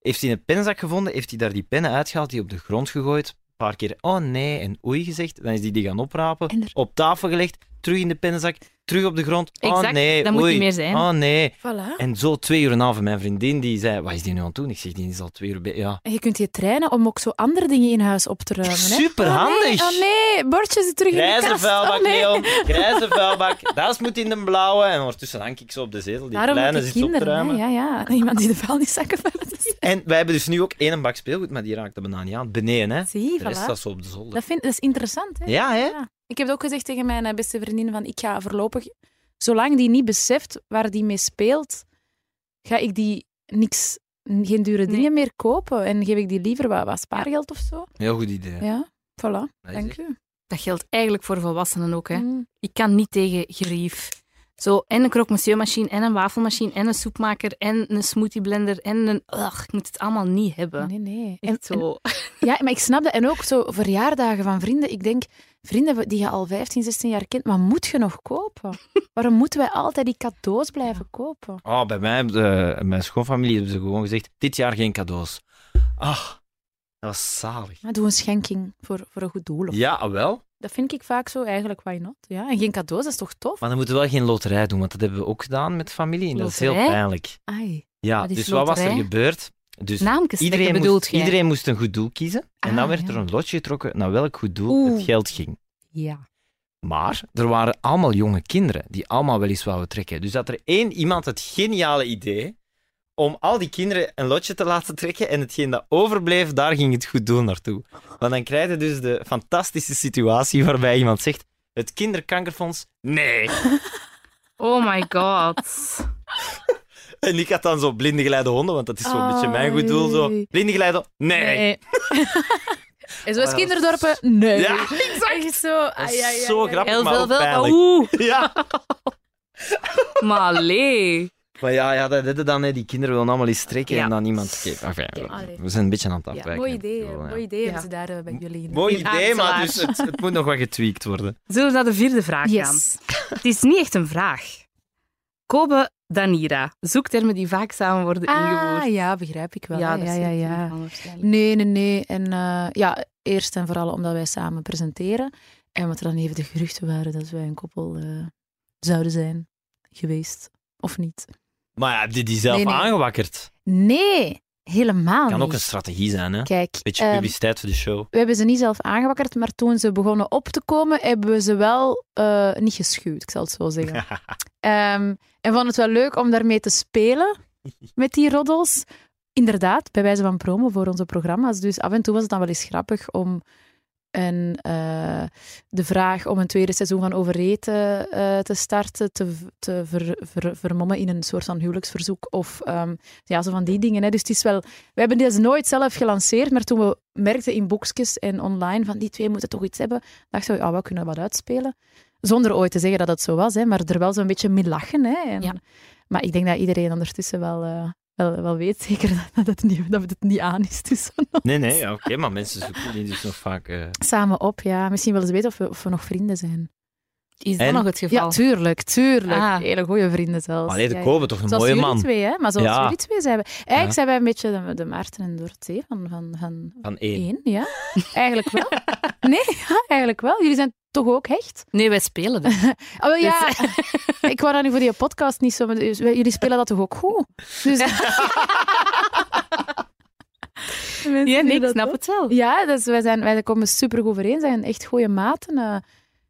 heeft hij een penzak gevonden, heeft hij daar die pennen uitgehaald, die op de grond gegooid, een paar keer oh nee en oei gezegd, dan is hij die gaan oprapen, En er- op tafel gelegd, terug in de pennenzak, terug op de grond, oh Exact, nee, dat moet oei, niet meer zijn. oh nee. Voilà. En zo twee uur en een half, en mijn vriendin die zei, wat is die nu aan het doen? Ik zeg, die is al twee uur bij, ja. En je kunt je trainen om ook zo andere dingen in huis op te ruimen. hè. Superhandig. Oh nee, oh nee, bordjes terug in de Grijze kast. vuilbak, oh nee. Leon. Grijze vuilbak. Dat moet in de blauwe. En ondertussen hang ik zo op de zetel. Die Daarom kleine moeten zit op te kinderen, hè. ruimen. ja, ja. Iemand die de vuilniszakken vuilt. En wij hebben dus nu ook één bak speelgoed, maar die raakt de banaan niet aan. Beneden, hè. Zie, De rest voilà. staat zo op de zolder. Dat, vind, dat is interessant, hè? Ja, hè. Ja. Ik heb het ook gezegd tegen mijn eh, beste vriendin van ik ga voorlopig, zolang die niet beseft waar die mee speelt, ga ik die niks, geen dure dingen meer kopen en geef ik die liever wat, wat spaargeld of zo. Heel goed idee. Ja, voilà. Dat is Dank echt- u. Dat geldt eigenlijk voor volwassenen ook. Hè. Mm. Ik kan niet tegen gerief. Zo, en een croque-monsieur-machine, en een wafelmachine, en een soepmaker, en een smoothiebender, en een... Ugh, ik moet het allemaal niet hebben. Nee, nee. En, Echt zo. en- ja, maar ik snap dat. En ook zo verjaardagen van vrienden. Ik denk, vrienden die je al 15, 16 jaar kent, maar moet je nog kopen? Waarom moeten wij altijd die cadeaus blijven kopen? Oh, bij mij, eh, mijn schoonfamilie, hebben ze gewoon gezegd, dit jaar geen cadeaus. Ah, dat was zalig. Maar doe een schenking voor, voor een goed doel. of- Ja, wel. Dat vind ik vaak zo, eigenlijk, why not? Ja, en geen cadeaus, dat is toch tof? Maar dan moeten we wel geen loterij doen, want dat hebben we ook gedaan met familie. En dat is heel Loterij? pijnlijk. Ai. Ja, Wat is dus wat was er loterij? gebeurd? Dus Namens Iedereen bedoelt moest, jij? iedereen moest een goed doel kiezen. En Ah, dan werd ja. er een lotje getrokken naar welk goed doel Oeh. het geld ging. Ja. Maar er waren allemaal jonge kinderen die allemaal wel eens wouden trekken. Dus had er één iemand het geniale idee om al die kinderen een lotje te laten trekken en hetgeen dat overbleef, daar ging het goed doel naartoe. Want dan krijg je dus de fantastische situatie waarbij iemand zegt, het kinderkankerfonds, nee. Oh my god. En ik had dan zo blinde geleide honden, want dat is zo'n Ah, beetje mijn goed doel. Zo. jee. Blinde geleide, nee. en zoals zoals Oh, kinderdorpen, nee. Ja, Echt zo, Dat is zo grappig, Heel maar veel, ook veel. pijnlijk. Oeh, Ja. maar allee. Maar ja, ja dat deden dan, hè. die kinderen willen allemaal iets trekken Ja. en dan iemand... Oké, Enfin, allee. we zijn een beetje aan het afwijken. mooi idee, Ik bedoel, ja. mooi idee hebben ze Ja. daar eh, bij jullie in. Mooi In idee, maar dus Aartselaar. het, het moet nog wat getweakt worden. Zullen we naar de vierde vraag gaan? Yes. Het is niet echt een vraag. Kobe Danira. Zoektermen die vaak samen worden ingevoerd. Ah, ja, begrijp ik wel. Ja, dat ja, is ja, natuurlijk ja. anders, eigenlijk. Nee, nee, nee. En eh, ja, eerst en vooral omdat wij samen presenteren. En wat er dan even de geruchten waren dat wij een koppel eh, zouden zijn geweest. Of niet. Maar ja, heb je die zelf Nee, nee. aangewakkerd? Nee, helemaal Kan niet. ook een strategie zijn, hè? Kijk, Beetje ehm, publiciteit voor de show. we hebben ze niet zelf aangewakkerd, maar toen ze begonnen op te komen, hebben we ze wel eh, niet geschuwd, ik zal het zo zeggen. Ehm, en vond het wel leuk om daarmee te spelen, met die roddels. Inderdaad, bij wijze van promo voor onze programma's. Dus af en toe was het dan wel eens grappig om een, eh, de vraag om een tweede seizoen van Overeten eh, te starten, te, v- te ver- ver- vermommen in een soort van huwelijksverzoek. Of ehm, ja, zo van die dingen. Hè. Dus het is wel... We hebben dit nooit zelf gelanceerd, maar toen we merkten in boekjes en online van die twee moeten toch iets hebben, dachten we, ja, we kunnen wat uitspelen. Zonder ooit te zeggen dat het zo was, hè, maar er wel zo'n beetje mee lachen. Hè. En- Ja. Maar ik denk dat iedereen ondertussen wel... eh, wel, wel weet zeker dat het niet, dat het niet aan is tussen ons. Nee, nee, ja, oké, maar mensen zoeken die dus nog vaak... eh, Samen op, ja. Misschien willen ze weten of we, of we nog vrienden zijn. Is dat En- nog het geval? Ja, tuurlijk, tuurlijk. Ah. Hele goede vrienden zelfs. Allee, Ja, de ja. Kobe, toch een Zoals mooie jullie man. twee, hè? Maar zoals Ja. jullie twee zijn. we- Eigenlijk Ja. zijn wij een beetje de, de Maarten en Dorothee van, van, van Van één. één, ja. Eigenlijk wel. Nee, ja, eigenlijk wel. Jullie zijn toch ook hecht? Nee, wij spelen dat. Oh, wel, ja. Dus, eh, Ik wou dat nu voor die podcast niet zo... maar dus wij- jullie spelen dat toch ook goed? Dus... Mensen Ja, doen nee, ik dat snap ook. het wel. Ja, dus wij, zijn, wij komen super goed overeen, zijn echt goede maten. eh,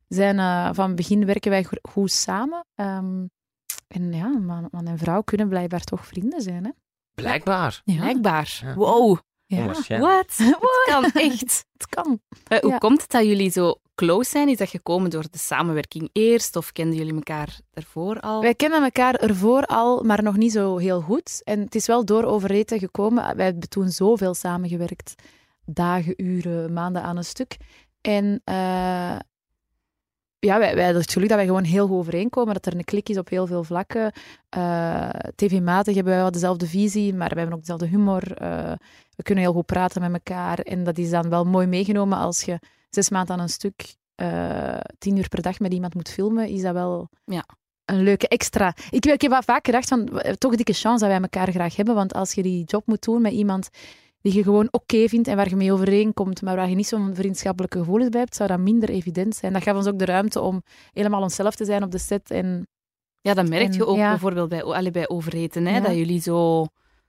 zijn, eh, van het begin werken wij go- goed samen. Ehm, en ja, man, man en vrouw kunnen blijkbaar toch vrienden zijn. Hè? Blijkbaar. Ja. Blijkbaar. Ja. Wow. Ja, Onwaarschijnlijk. Wat? Het kan echt. het kan. Eh, hoe Ja. komt het dat jullie zo close zijn? Is dat gekomen door de samenwerking eerst? Of kenden jullie elkaar daarvoor al? Wij kennen elkaar ervoor al, maar nog niet zo heel goed. En het is wel door overeten gekomen. Wij hebben toen zoveel samengewerkt. Dagen, uren, maanden aan een stuk. En eh, ja, wij, wij hadden het geluk dat wij gewoon heel goed overeenkomen. Dat er een klik is op heel veel vlakken. Eh, TV-matig hebben wij wel dezelfde visie, maar we hebben ook dezelfde humor. Eh, we kunnen heel goed praten met elkaar. En dat is dan wel mooi meegenomen als je zes maanden aan een stuk... eh, tien uur per dag met iemand moet filmen, is dat wel een leuke extra. Ik, ik heb wel vaak gedacht van w- toch dikke chance dat wij elkaar graag hebben. Want als je die job moet doen met iemand die je gewoon oké vindt en waar je mee overeenkomt, maar waar je niet zo'n vriendschappelijke gevoelens bij hebt, zou dat minder evident zijn. Dat gaf ons ook de ruimte om helemaal onszelf te zijn op de set. En Ja, dat merk je En, ook ja. bijvoorbeeld bij, allee, bij overeten. Hè, Ja. Dat jullie zo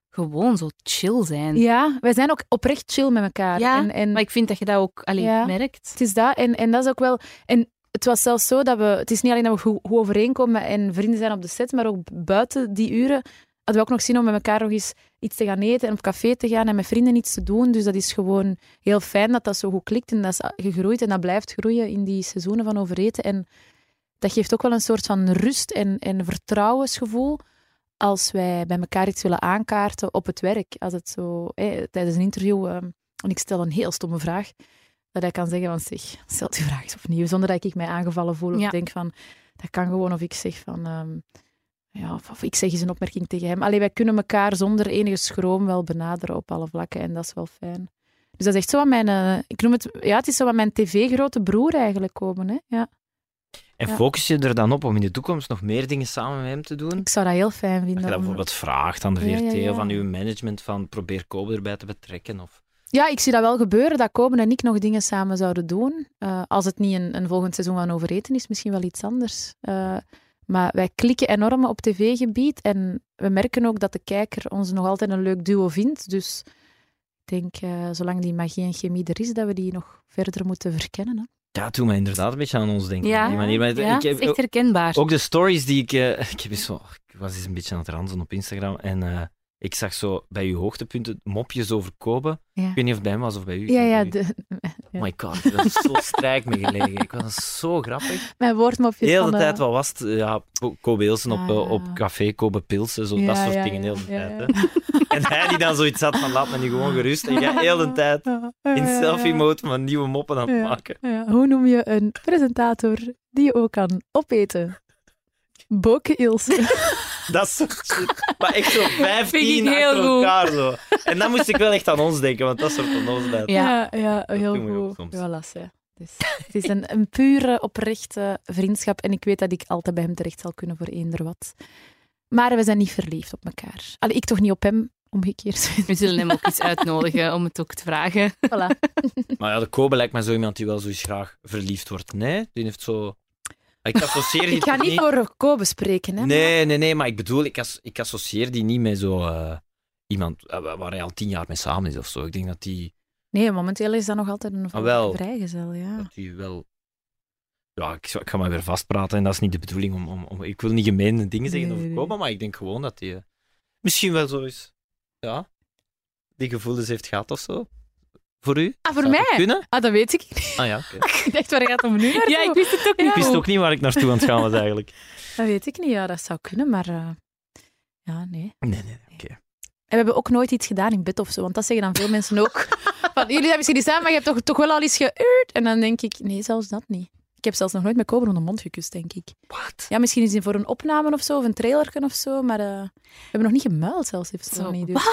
gewoon zo chill zijn. ja, wij zijn ook oprecht chill met elkaar. Ja, en, en Maar ik vind dat je dat ook allee, Ja. merkt. Het is dat. En, en dat is ook wel. En het was zelfs zo dat we. Het is niet alleen dat we goed, goed overeenkomen en vrienden zijn op de set, maar ook buiten die uren hadden we ook nog zin om met elkaar nog eens iets te gaan eten en op café te gaan en met vrienden iets te doen. Dus dat is gewoon heel fijn dat dat zo goed klikt en dat is eh, gegroeid en dat blijft groeien in die seizoenen van overeten. En dat geeft ook wel een soort van rust en, en vertrouwensgevoel als wij bij elkaar iets willen aankaarten op het werk. Als het zo, hè, tijdens een interview, ehm, en ik stel een heel stomme vraag, dat hij kan zeggen van zeg, stel die vraag eens opnieuw, zonder dat ik mij aangevallen voel of Ja. denk van, dat kan gewoon, of ik zeg van, ehm, ja, of, of ik zeg eens een opmerking tegen hem. Allee, wij kunnen elkaar zonder enige schroom wel benaderen op alle vlakken en dat is wel fijn. Dus dat is echt zo wat mijn, eh, ik noem het, ja, het is zo wat mijn tv-grote broer eigenlijk komen, hè. Ja. En Ja. focus je er dan op om in de toekomst nog meer dingen samen met hem te doen? Ik zou dat heel fijn vinden. Dat je dat om- bijvoorbeeld vraagt aan de Ja, VRT ja, ja. of aan uw management van probeer Kobe erbij te betrekken. Of... Ja, ik zie dat wel gebeuren, dat Koben en ik nog dingen samen zouden doen. Eh, als het niet een, een volgend seizoen van overeten is, misschien wel iets anders. Eh, maar wij klikken enorm op tv-gebied en we merken ook dat de kijker ons nog altijd een leuk duo vindt. Dus ik denk, eh, zolang die magie en chemie er is, dat we die nog verder moeten verkennen. Hè. Dat doet mij inderdaad een beetje aan ons denken. Ja, op die manier. Maar Ja, ik het heb is echt herkenbaar. ook de stories die ik... eh, ik, heb eens zo, ik was eens een beetje aan het ranzen op Instagram en eh, ik zag zo bij uw hoogtepunten mopjes over Kobe. Ja. Ik weet niet of het bij hem was of bij u. Ja, ja, Ik weet niet. de- Oh my god, dat is zo strijk me gelegen. Ik was dat zo grappig. mijn woordmopjes Heel de van eh, hele tijd, wat was het? Ja, Ko- Kobe Ilsen op, Ah, eh, ja. op café, Kobe Pilsen, zo Ja, dat soort ja, dingen ja, heel de ja, tijd. ja. hè. En hij die dan zoiets had van laat me nu gewoon gerust. En jij heel de tijd in selfie-mode van nieuwe moppen aan het Ja. maken. Ja, eh, hoe noem je een presentator die je ook kan opeten? Boke Ilse. Dat is zo shit. Maar echt zo 15 ik heel achter goed. elkaar zo. En dan moest ik wel echt aan ons denken, want dat soort onnozelheid. Ja. Ja, ja, heel doen we ook goed. soms. Voilà, hè. Dus, het is een, een pure, oprechte vriendschap. En ik weet dat ik altijd bij hem terecht zal kunnen voor eender wat. Maar we zijn niet verliefd op elkaar. Allee, ik toch niet op hem, omgekeerd. We zullen hem ook eens uitnodigen om het ook te vragen. voilà. Maar ja, de Kobe lijkt mij zo iemand die wel zoiets graag verliefd wordt. Nee, die heeft zo... Ik associeer die Ik ga toch niet voor Kobe spreken, hè. Nee, nee, nee, maar ik bedoel, ik, as- ik associeer die niet met zo eh, iemand eh, waar hij al tien jaar mee samen is of zo. Ik denk dat die, Nee, momenteel is dat nog altijd een Ah, wel. vrijgezel, ja. dat die wel. Ja, ik, zou- ik ga maar weer vastpraten en dat is niet de bedoeling om. om, om- ik wil niet gemeene dingen zeggen Nee, over nee. Koba, maar ik denk gewoon dat hij misschien wel zo is. Ja, die gevoelens heeft gehad of zo. Voor u? Ah, voor Zou dat mij? Kunnen? Ah, dat weet ik niet. Ah ja, oké. Ik dacht, waar gaat het om nu naartoe? Ja, ik wist het ook niet. Ja. Ik wist ook niet waar ik naartoe aan het gaan was eigenlijk. Dat weet ik niet. Ja, dat zou kunnen, maar... eh, Ja, nee. Nee, nee, nee. Oké. En we hebben ook nooit iets gedaan in bed of zo, want dat zeggen dan veel mensen ook. Van, jullie hebben misschien iets samen, maar je hebt toch, toch wel al iets geuurd? En dan denk ik, nee, zelfs dat niet. Ik heb zelfs nog nooit met Kober onder de mond gekust, denk ik. Wat? Ja, misschien is het voor een opname of zo, of een trailerken of zo, maar eh, we hebben nog niet gemuild zelfs. Heeft Zo, zo niet, dus.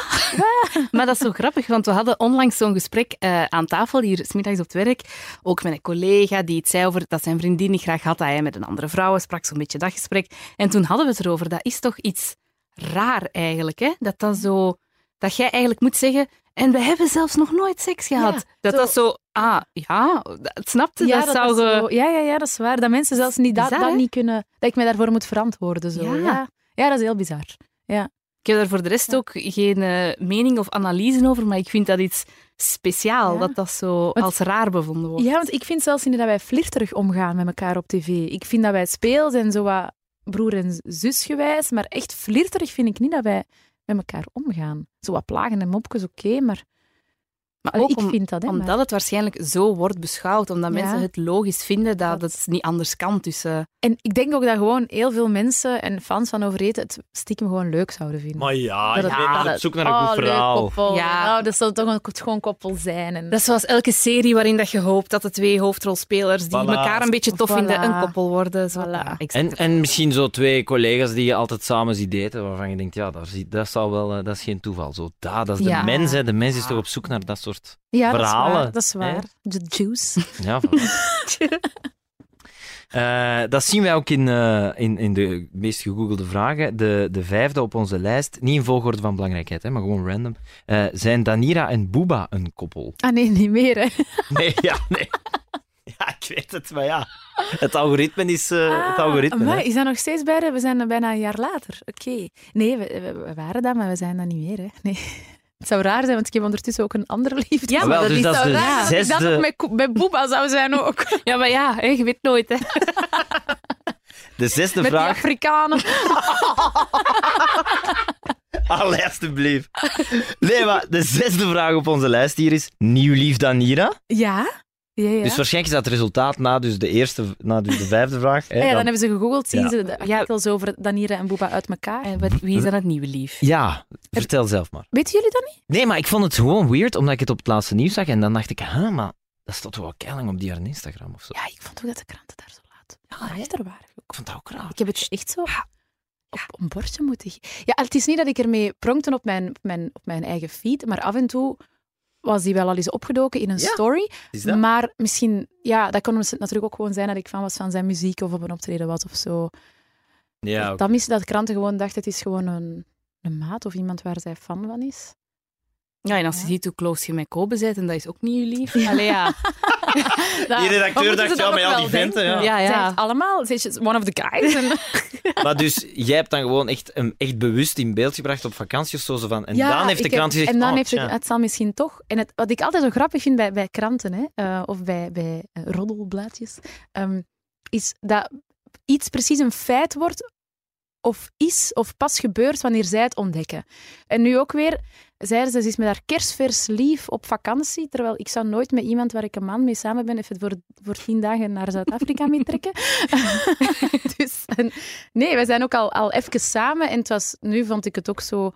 Maar dat is zo grappig, want we hadden onlangs zo'n gesprek eh, aan tafel hier, smiddags op het werk. Ook met een collega die iets zei over dat zijn vriendin niet graag had dat hij met een andere vrouw was, sprak zo'n beetje dat gesprek. En toen hadden we het erover. Dat is toch iets raar eigenlijk, hè? Dat dat zo... Dat jij eigenlijk moet zeggen... En we hebben zelfs nog nooit seks gehad. Ja, dat zo- dat zo... Ah, ja, dat, snapte? Ja, dat, zou... is ge- zo- ja, ja, ja, dat is waar. Dat mensen zelfs niet dat, Bizar, dat hè? niet kunnen, dat ik me daarvoor moet verantwoorden. Zo. Ja. Ja. Ja. dat is heel bizar. Ik heb daar voor de rest ook geen eh, mening of analyse over, maar ik vind dat iets speciaal, Ja. dat dat zo Want- als raar bevonden wordt. Ja, want ik vind zelfs niet dat wij flirterig omgaan met elkaar op tv. Ik vind dat wij speels en zo wat broer en zus gewijs, maar echt flirterig vind ik niet dat wij met elkaar omgaan. Zo wat plagen en mopjes, oké, maar Maar Allee, ook ik om- vind dat, hè. maar- omdat het waarschijnlijk zo wordt beschouwd, omdat Ja. mensen het logisch vinden dat Dat- het niet anders kan tussen... En ik denk ook dat gewoon heel veel mensen en fans van Overeten het stiekem gewoon leuk zouden vinden. Maar ja, dat ik het- ben dat aan het- het zoeken naar een oh, goed leuk verhaal. koppel. Ja. Nou, dat zal toch een schoon koppel zijn. En... Dat is zoals elke serie waarin dat je hoopt dat de twee hoofdrolspelers die Voilà. elkaar een beetje tof Voilà. vinden, een koppel worden. Zo. Voilà. Ja, exact. En, en misschien zo twee collega's die je altijd samen ziet eten, waarvan je denkt, ja, daar zie- dat, zal wel, eh, dat is geen toeval. Zo, dat, dat is Ja. de mens, hè. De mens is toch op zoek naar dat soort... ja, dat is verhalen, waar, Dat is waar. De juice. Ja, voilà. Eh, dat zien wij ook in, eh, in, in de meest gegoogelde vragen. De, de vijfde op onze lijst, niet in volgorde van belangrijkheid, hè, maar gewoon random. Eh, zijn Danira en Booba een koppel? Ah nee, niet meer. Hè. Nee, ja, nee. Ja, ik weet het, maar ja. Het algoritme is eh, het algoritme. Ah, Amai, hè. is dat nog steeds bij de- We zijn bijna een jaar later. Oké. Nee, we, we- we waren dat, maar we zijn dat niet meer. Hè. Nee. Het zou raar zijn, want ik heb ondertussen ook een andere liefde. Ja, Ah, maar wel, dat dus is dat is zou de raar zijn als ik dat zesde... nog met, Ko- met Booba zou zijn ook. Ja, maar ja, hè, je weet nooit. Hè. De zesde met die vraag. Afrikanen. Allee, alstublieft. Nee, maar de zesde vraag op onze lijst hier is: Nieuw lief Danira. Ja? Ja, ja. Dus waarschijnlijk is dat het resultaat na dus de, eerste, na dus de vijfde vraag. Hè, Ah ja, dan dan- hebben ze gegoogeld, zien Ja. ze de artikels over Danira en Booba uit elkaar. En wat- wie is dan het nieuwe lief? ja, vertel zelf maar. Weten jullie dat niet? Nee, maar ik vond het gewoon weird omdat ik het op het laatste nieuws zag en dan dacht ik, huh, maar dat staat toch wel keiling op die haar Instagram of zo. Ja, ik vond ook dat de kranten daar zo laat achter waren. Ik vond dat ook raar. Ik heb het dus echt zo op een bordje moeten... ge- Ja, het is niet dat ik ermee pronkte op mijn, op, mijn, op mijn eigen feed, maar af en toe was die wel al eens opgedoken in een Ja. story. Is Maar misschien... Ja, dat kon natuurlijk ook gewoon zijn dat ik fan was van zijn muziek of op een optreden was of zo. Ja, oké. Dan is dat kranten gewoon dachten, het is gewoon een, een maat of iemand waar zij fan van is. Ja, en als je Ja. ziet hoe close je met Kobe bent, en dat is ook nieuw lief. Allee, ja. Die redacteur dacht, ja, met al die venten, ja. Ja, ja. Zij heeft allemaal, ze is one of the guys. En- Maar dus jij hebt dan gewoon echt, hem echt bewust in beeld gebracht op vakantie of zo. zo van, en Ja, dan heeft de ik heb- krant gezegd, En dan oh, heeft het, tja. het zal misschien toch. En het, wat ik altijd zo grappig vind bij, bij kranten hè, eh, of bij, bij eh, roddelblaadjes, ehm, is dat iets precies een feit wordt of is of pas gebeurt wanneer zij het ontdekken. En nu ook weer, zeiden ze, ze is met haar kerstvers lief op vakantie, terwijl ik zou nooit met iemand waar ik een man mee samen ben, even voor, voor tien dagen naar Zuid-Afrika mee trekken. dus, en- nee, wij zijn ook al, al even samen en het was, nu vond ik het ook zo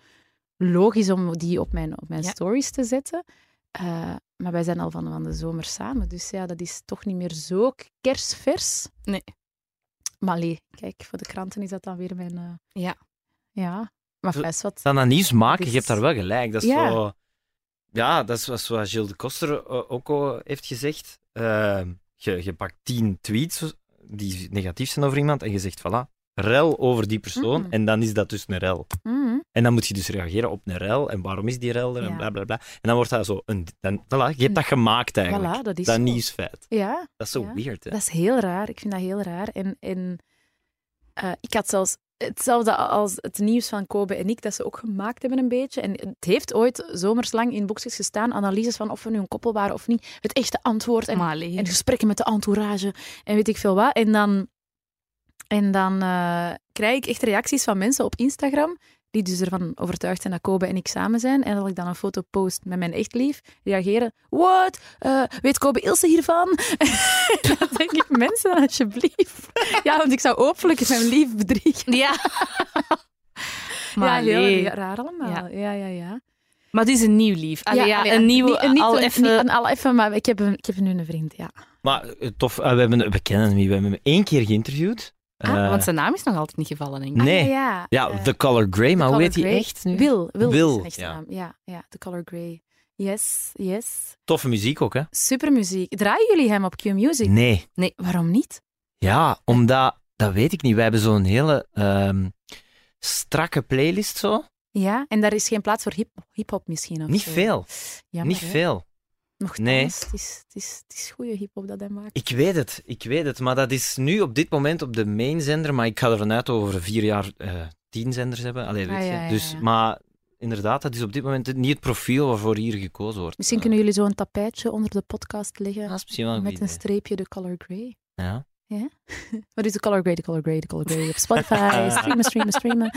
logisch om die op mijn, op mijn Ja. stories te zetten. Eh, maar wij zijn al van, van de zomer samen, dus ja, dat is toch niet meer zo k- kersvers. Nee. Maar allee, kijk, voor de kranten is dat dan weer mijn... eh, Ja. Ja, maar Zo- best wat... dan dat nieuws maken, Dus- je hebt daar wel gelijk. Dat is Ja. zo... Ja, dat is wat- wat Gilles de Koster eh, ook al heeft gezegd. Eh, je, je pakt tien tweets die negatief zijn over iemand en je zegt, voilà, rel over die persoon. Mhm. En dan is dat dus een rel. Mm. En dan moet je dus reageren op een rel en waarom is die rel er Ja. en bla bla bla. En dan wordt dat zo, een, dan, voilà, je hebt dat gemaakt eigenlijk. Voilà, dat is dat zo. nieuwsfeit. Ja, Dat is zo Ja. weird, hè. dat is heel raar. Ik vind dat heel raar. En, en eh, ik had zelfs hetzelfde als het nieuws van Kobe en ik, dat ze ook gemaakt hebben een beetje. En het heeft ooit zomerslang in boekjes gestaan, analyses van of we nu een koppel waren of niet. Het echte antwoord en Maar allee. En gesprekken met de entourage en weet ik veel wat. En dan, en dan eh, krijg ik echt reacties van mensen op Instagram. Die dus ervan overtuigd zijn dat Kobe en ik samen zijn. En dat ik dan een foto post met mijn echt lief. Reageren. What? Eh, weet Kobe Ilse hiervan? dan denk ik, mensen, alsjeblieft. Ja, want ik zou openlijk mijn lief bedriegen. Ja. maar, ja, allee. heel raar allemaal. Ja, ja, ja. maar het is een nieuw lief. Allee, ja, allee, een nieuwe, niet- niet al een- even... niet een al even, maar ik heb, een, ik heb nu een vriend, ja. Maar eh, tof, eh, we, hebben, we kennen hem, we hebben hem één keer geïnterviewd. Ah, Eh, want zijn naam is nog altijd niet gevallen, denk ik. nee. Ah, ja, Ja, eh. The Color Grey, maar hoe Color heet die Grey. echt nu? Wil, Wil, Wil, is zijn echte ja. naam. Ja, ja, The Color Grey. Yes, yes. Toffe muziek ook, hè? Super muziek. Draaien jullie hem op Q Music? Nee. Waarom niet? Ja, omdat, dat weet ik niet. Wij hebben zo'n hele ehm, strakke playlist zo. Ja, en daar is geen plaats voor hip- hip-hop misschien. Of Niet zo. veel. Jammer, Niet hè? veel. Nochtans, Nee. Het is, het is, het is goede hip-hop dat hij maakt. Ik weet het, ik weet het. Maar dat is nu op dit moment op de mainzender. Maar ik ga ervan uit dat we over vier jaar eh, tien zenders hebben. Allee, weet Ah, je. ja, ja, Dus, ja. maar inderdaad, dat is op dit moment niet het profiel waarvoor hier gekozen wordt. Misschien kunnen jullie zo een tapijtje onder de podcast leggen. Dat is misschien wel een met goed een idee. streepje The Color Grey. Ja. Wat is The Color Grey, The Color Grey, The Color Grey? Op Spotify, streamen, streamen, streamen.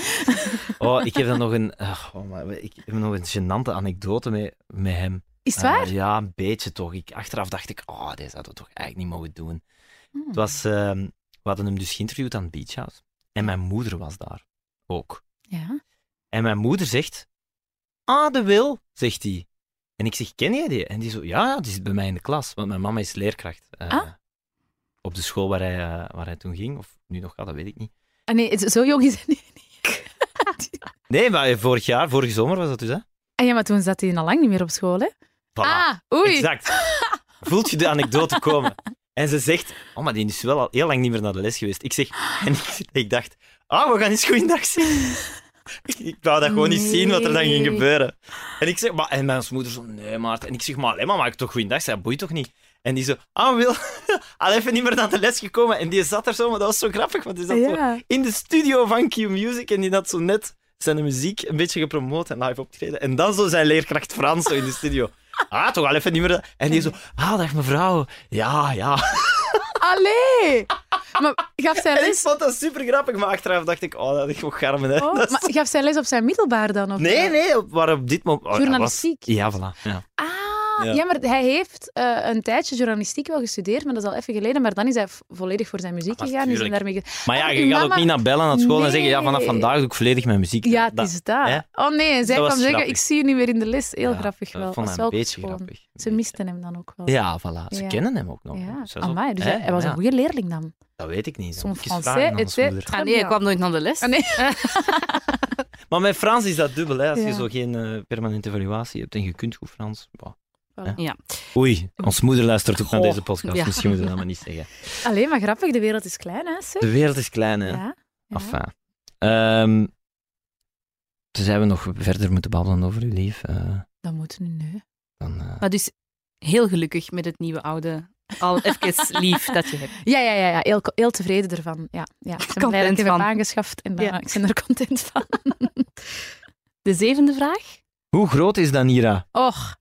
Oh, ik heb dan nog een... ah, oh, maar ik heb nog een gênante anekdote mee, met hem. Is het waar? Eh, ja, een beetje toch. Ik, achteraf dacht ik, oh, deze hadden we toch eigenlijk niet mogen doen. Hmm. Het was, ehm, we hadden hem dus geïnterviewd aan het Beach House. En mijn moeder was daar ook. Ja. En mijn moeder zegt, ah, de Wil, zegt hij. En ik zeg, ken jij die? En die zo, ja, ja, die zit bij mij in de klas. Want mijn mama is leerkracht. eh, Ah. Op de school waar hij, eh, waar hij toen ging. Of nu nog gaat, dat weet ik niet. Ah, nee, het- zo jong is hij niet. Nee, maar vorig jaar, vorige zomer was dat dus, hè? Ah ja, maar toen zat hij al lang niet meer op school, hè? Voilà. Ah, oei. Exact. Voelt je de anekdote komen? En ze zegt, oh, maar die is wel al heel lang niet meer naar de les geweest. Ik zeg, en ik, ik dacht, ah, we gaan eens goeiedag zeggen. Ik- Ik wou dat gewoon niet zien wat er dan ging Nee. gebeuren. En ik zeg, maar, en mijn moeder zo, nee, Maarten. En ik zeg, maar, Lemma, maak toch goeiedag? Zij boeit toch niet? En die zo, ah, Wil, al even niet meer naar de les gekomen. En die zat er zo, maar dat was zo grappig, want die zat zo Ja. in de studio van Q Music en die had zo net zijn muziek een beetje gepromoot en live opgetreden. En dan zo zijn leerkracht Frans zo in de studio. Ah, toch wel even niet meer. En die zo, ah, dag mevrouw. Ja, ja. Allee! Maar gaf zijn En ik les... vond dat super grappig, maar achteraf dacht ik, oh, dat is gewoon garmen. Hè. Oh, Dat is- maar gaf zijn les op zijn middelbaar dan? Of Nee, nee, waar op dit moment... oh, ja, Journalistiek. was- Ja, voilà. Ja. Ah, Ja. ja, maar hij heeft eh, een tijdje journalistiek wel gestudeerd, maar dat is al even geleden. Maar dan is hij vo- volledig voor zijn muziek Ah, maar gegaan. Is hij tuurlijk. daarmee ge- Maar ja, En je uw gaat ook Ah, mama- niet naar bellen aan school en zeggen, ja, vanaf Nee. vandaag doe ik volledig mijn muziek. ja, het Dat- is dat. hè? Oh nee, en zij Dat was kwam zeggen, grappig. ik zie je niet meer in de les. Heel ja, grappig wel. Dat Dat vond is ik wel een beetje schoon. grappig. Ze misten hem dan ook wel. Ja, voilà. Ze Ja. kennen hem ook nog. Ja. Dus dat is ook- Amai, dus hè? hij, hij was Ja. een goede leerling dan. Dat weet ik niet. Zo'n Moet ik eens Français, vragen aan het onze is- moeder. Ah nee, ik kwam nooit naar de les. Ah, nee. Maar met Frans is dat dubbel. Hè? Als je Ja. zo geen eh, permanente evaluatie hebt en je kunt goed Frans. bah. Voilà. Ja. Oei, ons moeder luistert ook Oh. naar Goh, deze podcast. ja. Misschien moeten we dat maar niet zeggen. Alleen maar grappig, de wereld is klein, hè? Sef? De wereld is klein, hè? Ja. ja. Enfin. Ehm, tenzij we nog verder moeten babbelen over uw leven. eh, Dat moet nu, nee. dan, eh, Maar dus heel gelukkig met het nieuwe oude. Al even lief dat je hebt. Ja, ja, ja, ja. Heel, heel tevreden ervan. Ja, ja. Ik ben blij dat ik Content hem heb van. aangeschaft en dan- Ja. ik ben er content van. De zevende vraag. Hoe groot is Danira? Och,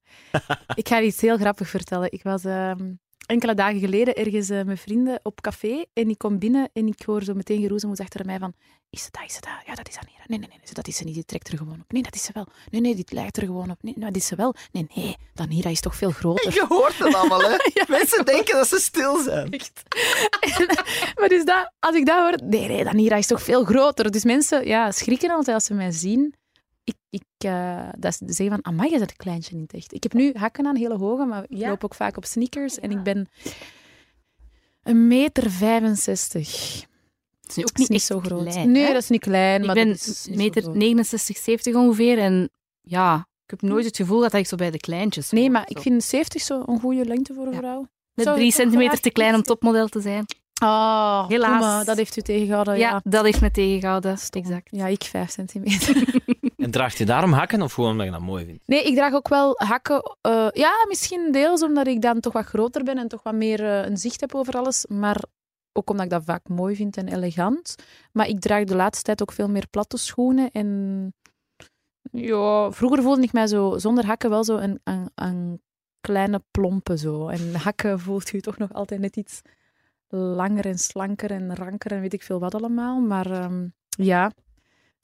ik ga iets heel grappig vertellen. Ik was ehm, enkele dagen geleden ergens eh, met vrienden op café en ik kom binnen en ik hoor zo meteen geroezemoes achter mij van is het dat, is het dat? Ja, dat is Anira. Nee, nee, nee, dat is ze niet. Die trekt er gewoon op. Nee, dat is ze wel. Nee, nee, die lijkt er gewoon op. Nee, nou, dat is ze wel. Nee, nee, Danira is toch veel groter. Je hoort het allemaal, hè? Ja. Mensen denken dat ze stil zijn. Echt. maar dus dat, als ik dat hoor, nee, nee, Danira is toch veel groter. Dus mensen ja, schrikken altijd als ze mij zien. Ik, ik, eh, dat ze zeggen van, amai, je bent een kleintje niet echt. Ik heb nu hakken aan, hele hoge, maar ik Ja. loop ook vaak op sneakers. En ik ben een meter 65. Het is nu ook Dat is niet niet echt zo groot. klein, nee, hè? dat is niet klein, Ik maar ben dat is niet zo meter groot. 69, 70 ongeveer. En ja, ik heb nooit het gevoel dat ik zo bij de kleintjes Nee, hoor, maar zo. ik vind 70 zo een goede lengte voor een Ja. vrouw. Net Zou drie ik ook centimeter graag te klein om iets- topmodel te zijn. Oh, Helaas. Koema, dat heeft u tegengehouden. Oh, Ja, Ja, dat heeft me tegengehouden. Stom. Exact. ja ik 5 centimeter. En draagt je daarom hakken of gewoon omdat je dat mooi vindt? Nee, ik draag ook wel hakken. eh, ja, misschien deels omdat ik dan toch wat groter ben en toch wat meer eh, een zicht heb over alles. Maar ook omdat ik dat vaak mooi vind en elegant. Maar ik draag de laatste tijd ook veel meer platte schoenen. En ja, vroeger voelde ik mij zo, zonder hakken wel zo een, een, een kleine plompe. Zo. En hakken voelt u toch nog altijd net iets langer en slanker en ranker en weet ik veel wat allemaal. Maar ehm, ja,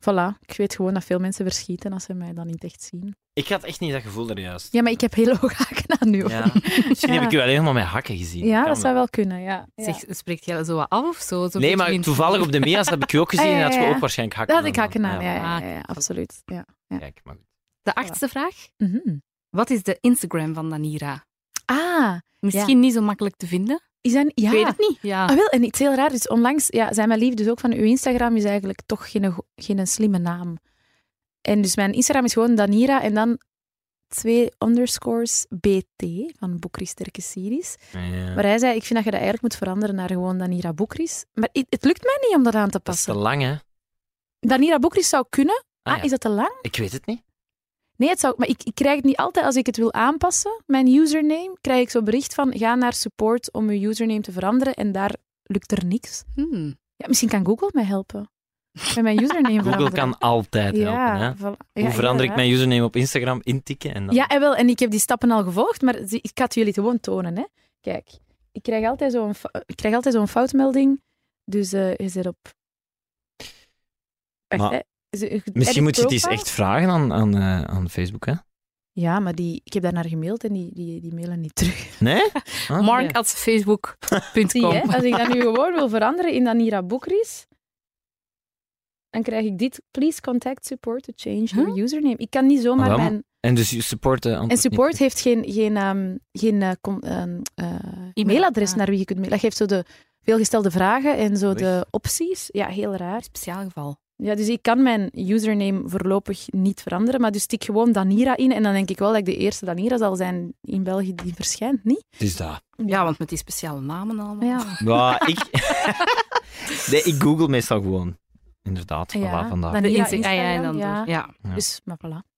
voilà. Ik weet gewoon dat veel mensen verschieten als ze mij dan niet echt zien. Ik had echt niet dat gevoel er juist. Ja, maar ik heb hele hoge haken aan nu. hoor. Ja. Misschien heb ik u alleen helemaal met hakken gezien. Ja, Kan dat zou wel kunnen, ja. ja. Zeg, spreekt jij zo wat af of zo? Zo Nee, beetje maar in- toevallig op de Mia's heb ik u ook gezien en had je Ja, ja, ja. ook waarschijnlijk hakken dat had ik haken aan, ja, Ja, ja, Ah, ja, ja, absoluut. Ja. Kijk, maar goed. De achtste vraag. Mhm. Wat is de Instagram van Danira? Ah, Misschien niet zo makkelijk te vinden. is dat... Ja. Ik weet het niet. Ja. Ah, wel, en iets heel raar. Dus onlangs ja, zei mijn lief dus ook van uw Instagram is eigenlijk toch geen, go- geen slimme naam. En dus mijn Instagram is gewoon Danira en dan twee underscores BT van Boekris Sterke Series. Ja. Maar hij zei, ik vind dat je dat eigenlijk moet veranderen naar gewoon Danira Boekris. Maar het, het lukt mij niet om dat aan te Dat is passen. te lang, hè? Danira Boekris zou kunnen. Ah, Ah, ja. is dat te lang? Ik weet het niet. Nee, het zou, maar ik, ik krijg het niet altijd als ik het wil aanpassen. Mijn username krijg ik zo'n bericht van ga naar support om uw username te veranderen en daar lukt er niks. Hmm. Ja, misschien kan Google mij helpen met mijn username Google veranderen. kan altijd helpen, hè? ja, voilà. Ja, Hoe verander ik inderdaad. mijn username op Instagram? Intikken en dan... Ja, en wel, en ik heb die stappen al gevolgd, maar zie- ik ga het jullie gewoon tonen. Hè. Kijk, ik krijg altijd zo'n fou- ik krijg altijd zo'n foutmelding, dus eh je zit op... Wacht, Maar hè. Is- is- edit Misschien moet je het eens profile? echt vragen aan, aan, eh, aan Facebook, hè? Ja, maar die, ik heb daar naar gemaild en die, die, die mailen niet terug. Nee? Ah, Mark ja. at facebook.com. Zie je, als ik dat nu gewoon wil veranderen in Danira Boekris, dan krijg ik dit. Please contact support to change your username. Ik kan niet zomaar Waarom? mijn... En dus je supporten antwoordt En niet. support heeft geen, geen, ehm, geen eh, con- ehm, eh, e-mailadres ah. naar wie je kunt mailen. Dat geeft zo de veelgestelde vragen en zo Oei. de opties. Ja, heel raar. Speciaal geval. Ja, dus ik kan mijn username voorlopig niet veranderen, maar dus tik gewoon Danira in en dan denk ik wel dat ik de eerste Danira zal zijn in België die verschijnt, niet? Het is dat. Ja, want met die speciale namen allemaal. Ja. Ja, ik... nee, ik google meestal gewoon. Inderdaad, Ja, voilà, vandaag. dan- De Ja, Insta- ah, ja, en dan Instagram, ja. door. Ja. Dus, maar voilà.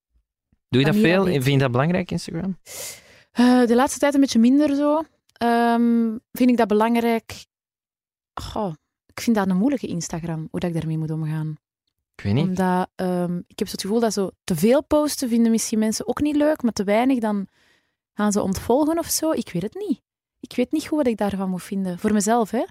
Doe je dan dat hier veel? dan niet. Vind je dat belangrijk, Instagram? Eh, de laatste tijd een beetje minder zo. Ehm, vind ik dat belangrijk? Goh, ik vind dat een moeilijke Instagram, hoe dat ik daarmee moet omgaan. Ik weet niet. Omdat ehm, ik heb zo het gevoel dat zo te veel posten vinden misschien mensen ook niet leuk, maar te weinig dan gaan ze ontvolgen of zo. Ik weet het niet. Ik weet niet goed wat ik daarvan moet vinden. Voor mezelf, hè.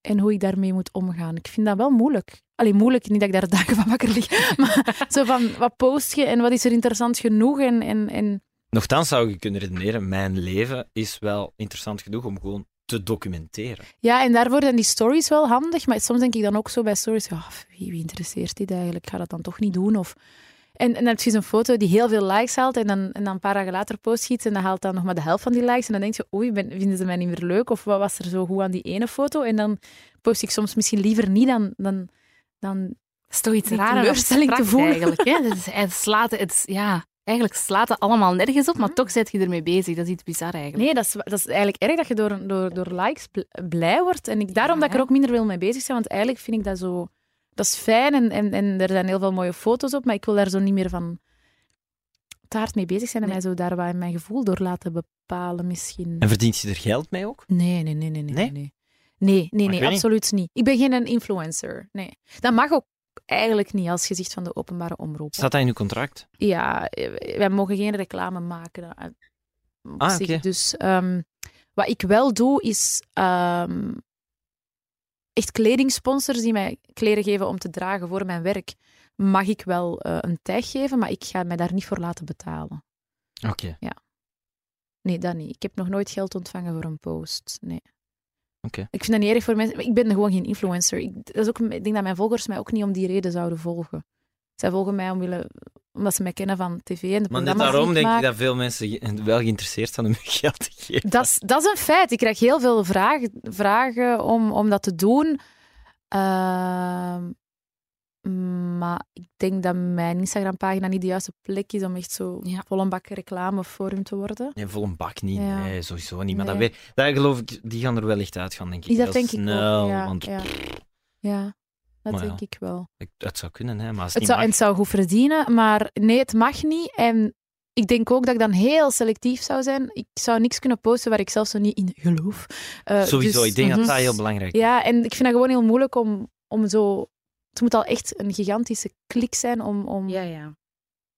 En hoe ik daarmee moet omgaan. Ik vind dat wel moeilijk. Alleen moeilijk, niet dat ik daar dagen van wakker lig. Maar zo van, wat post je en wat is er interessant genoeg? En, en, en... Nochtans zou je kunnen redeneren, mijn leven is wel interessant genoeg om gewoon te documenteren. Ja, en daarvoor zijn die stories wel handig. Maar soms denk ik dan ook zo bij stories, ja, wie, wie interesseert dit eigenlijk? Ik ga dat dan toch niet doen? Of... En, en dan heb je eens een foto die heel veel likes haalt en dan, en dan een paar dagen later post je iets en dan haalt dan nog maar de helft van die likes. En dan denk je, oei, ben, vinden ze mij niet meer leuk? Of wat was er zo goed aan die ene foto? En dan post ik soms misschien liever niet dan... dan, dan Dat is toch iets Die raar en teleurstelling te abstract voelen. Eigenlijk, hè? Dat is, het slaat, het, is- ja, eigenlijk slaat het allemaal nergens op, maar toch zit je ermee bezig. Dat is iets bizar eigenlijk. nee, dat is, dat is eigenlijk erg dat je door, door, door likes bl- blij wordt. En ik, daarom Ja, dat ik er hè? ook minder wil mee bezig zijn, want eigenlijk vind ik dat zo... Dat is fijn en, en, en er zijn heel veel mooie foto's op, maar ik wil daar zo niet meer van te hard mee bezig zijn en Nee. mij zo daar wat in mijn gevoel door laten bepalen misschien. En verdient je er geld mee ook? Nee, nee, nee, nee, nee. Nee? Nee, nee, nee, nee, ik weet niet. absoluut niet. Ik ben geen influencer. Nee. Dat mag ook eigenlijk niet als gezicht van de openbare omroep. Staat dat in je contract? Ja, eh, wij mogen geen reclame maken. eh, op Ah, zich. oké. Dus ehm, wat ik wel doe, is ehm, echt kledingsponsors die mij kleren geven om te dragen voor mijn werk. Mag ik wel eh, een tag geven, maar ik ga mij daar niet voor laten betalen. Oké. Nee, dat niet. Ik heb nog nooit geld ontvangen voor een post. Nee. Oké. Ik vind dat niet erg voor mensen. Ik ben gewoon geen influencer. Ik, dat is ook, ik denk dat mijn volgers mij ook niet om die reden zouden volgen. Zij volgen mij om willen, omdat ze mij kennen van tv en de Maar programma's net die daarom ik denk maak. ik dat veel mensen ge- wel geïnteresseerd zijn om hun geld te geven. Dat is, dat is een feit. Ik krijg heel veel vragen, vragen om, om dat te doen. Ehm, maar ik denk dat mijn Instagram-pagina niet de juiste plek is om echt zo Ja. vol een bak reclame voor hem te worden. Nee, vol een bak niet. Ja. Nee, sowieso niet. Maar dat, Nee. weer, dat geloof ik, die gaan er wel echt uit gaan, denk ik. Dat, Heel denk ik snel, ook. Ja, want ja. ja. dat Maar ja. denk ik wel. ik- het zou kunnen, hè, maar als Het het, niet zou, en het zou goed verdienen, maar nee, het mag niet. En ik denk ook dat ik dan heel selectief zou zijn. Ik zou niks kunnen posten waar ik zelf zo niet in geloof. Eh, mag- sowieso, dus- ik denk dat Mhm. dat heel belangrijk is. Ja, en ik vind dat gewoon heel moeilijk om, om zo... Het moet al echt een gigantische klik zijn om, om Ja,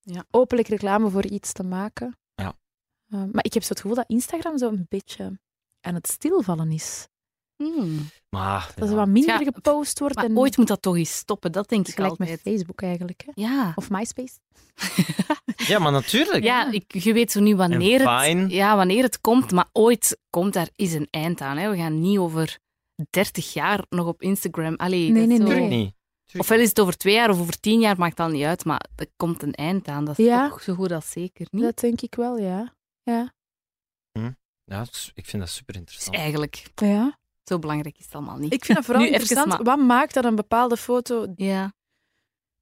ja. openlijk reclame voor iets te maken. Ja. Eh, maar ik heb zo het gevoel dat Instagram zo een beetje aan het stilvallen is. Hmm. Maar, Dat ja. er wat minder Ja, gepost wordt. Maar en ooit moet dat toch eens stoppen, dat denk Het is ik gelijk met altijd. Facebook eigenlijk. Hè? Ja. Of MySpace. ja, maar natuurlijk. Ja, ik, je weet zo niet wanneer En Vine. het, ja, wanneer het komt, maar ooit komt daar is een eind aan. Hè. We gaan niet over 30 jaar nog op Instagram. Allee, Nee, dat is nee, zo- nee. Natuurlijk niet. Ofwel is het over twee jaar of over tien jaar, maakt al niet uit, maar er komt een eind aan. Dat is Ja. toch zo goed als zeker niet. Dat denk ik wel, ja. Ja. Ja, het is- ik vind dat super Dus interessant. eigenlijk, ja. zo belangrijk is het allemaal niet. Ik vind dat vooral Nu even interessant. maar- Wat maakt dat een bepaalde foto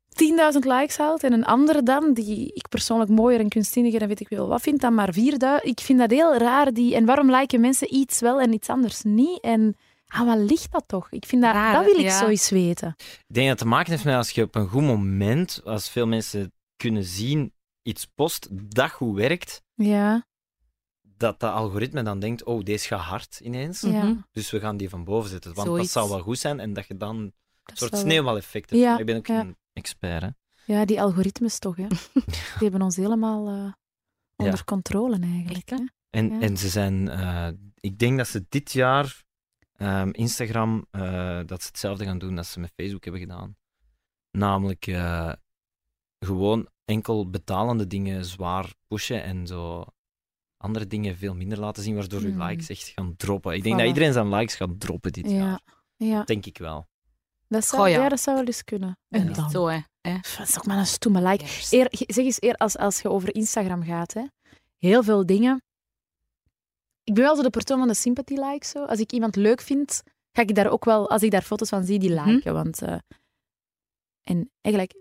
10.000 Ja. likes haalt en een andere dan, die ik persoonlijk mooier en kunstzinniger en weet ik wel wat vind, dan maar 4.000? Ik vind dat heel raar. Die, en waarom liken mensen iets wel en iets anders niet? En aan wat ligt dat toch? Ik vind dat, Raar, dat wil ik ja. zoiets weten. Ik denk dat het te maken heeft met als je op een goed moment, als veel mensen kunnen zien, iets post dat goed werkt, Ja, dat dat algoritme dan denkt, oh, deze gaat hard ineens, ja. Mhm. dus we gaan die van boven zetten. Want Zoiets. dat zou wel goed zijn en dat je dan een dat is soort wel- sneeuwbaleffect Ja, hebt. ik ben ook ja. een expert, hè. Ja, die algoritmes toch, hè. Die hebben ons helemaal eh, onder controle eigenlijk. Echt, hè? hè. En, Ja. en ze zijn, eh, ik denk dat ze dit jaar ehm, Instagram, eh, dat ze hetzelfde gaan doen dat ze met Facebook hebben gedaan. Namelijk eh, gewoon enkel betalende dingen zwaar pushen en zo andere dingen veel minder laten zien, waardoor uw Hmm. likes echt gaan droppen. Ik denk Voilà. dat iedereen zijn likes gaat droppen dit Ja. jaar. Ja, Denk ik wel. dat zou, Goh, ja. ja. dat zou wel eens kunnen. Dat En is dan? Zo, hè. hè. Pff, Dat is ook maar een stomme like. Kerst. Eer, ge- zeg eens eer, als, als je over Instagram gaat, hè. heel veel dingen. Ik ben wel zo de persoon van de sympathy like. Zo. Als ik iemand leuk vind, ga ik daar ook wel, als ik daar foto's van zie, die Mhm. liken. Want, eh, en eigenlijk,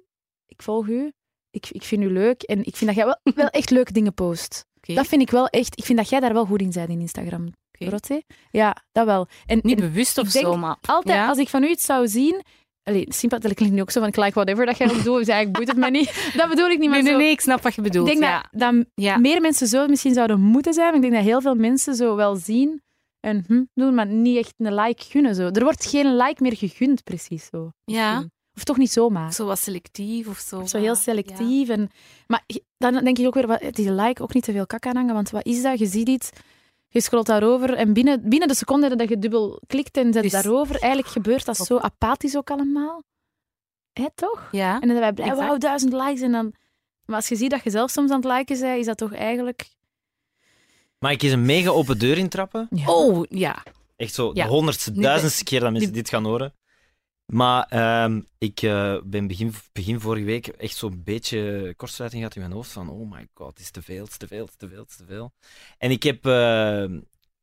ik volg u, ik, ik vind u leuk en ik vind dat jij wel, wel echt leuke dingen post. Oké. Dat vind ik wel echt, ik vind dat jij daar wel goed in bent in Instagram, Oké. Dorothee. Ja, dat wel. En, Niet en bewust of denk- zo, maar... altijd, Ja. als ik van u iets zou zien... Allee, sympathie, dat klinkt nu ook zo van, ik like whatever dat jij ook doet, dus eigenlijk boeit het mij niet. Dat bedoel ik niet, maar Nee, nee, zo- nee, ik snap wat je bedoelt. ik denk ja. dat, dat Ja. meer mensen zo misschien zouden moeten zijn. Ik denk dat heel veel mensen zo wel zien en hm doen, maar niet echt een like gunnen. Zo. Er wordt geen like meer gegund, precies zo. ja, misschien. Of toch niet zomaar. zo wat selectief of zo. Of zo heel Ja. selectief. En, maar je- dan denk ik ook weer, wat, het is een like ook niet te veel kak aan hangen, want wat is dat? Je ziet iets, je scrolt daarover en binnen, binnen de seconde dat je dubbel klikt en zet Dus- daarover, eigenlijk gebeurt dat Klopt. zo apathisch ook allemaal. Hè, toch? Ja. En dan zijn wij blij, Exact. wauw, duizend likes. En dan... Maar als je ziet dat je zelf soms aan het liken bent, is dat toch eigenlijk... Maar ik is een mega open deur intrappen. Ja. Oh, ja. Echt zo Ja. de honderdste, Nu duizendste keer dat mensen nu- dit gaan horen. Maar ehm, ik eh, ben begin, begin vorige week echt zo'n beetje kortsluiting gehad in mijn hoofd. Van, oh my god, het is te veel, het is te veel, het is te veel, het is te veel. En ik heb ehm,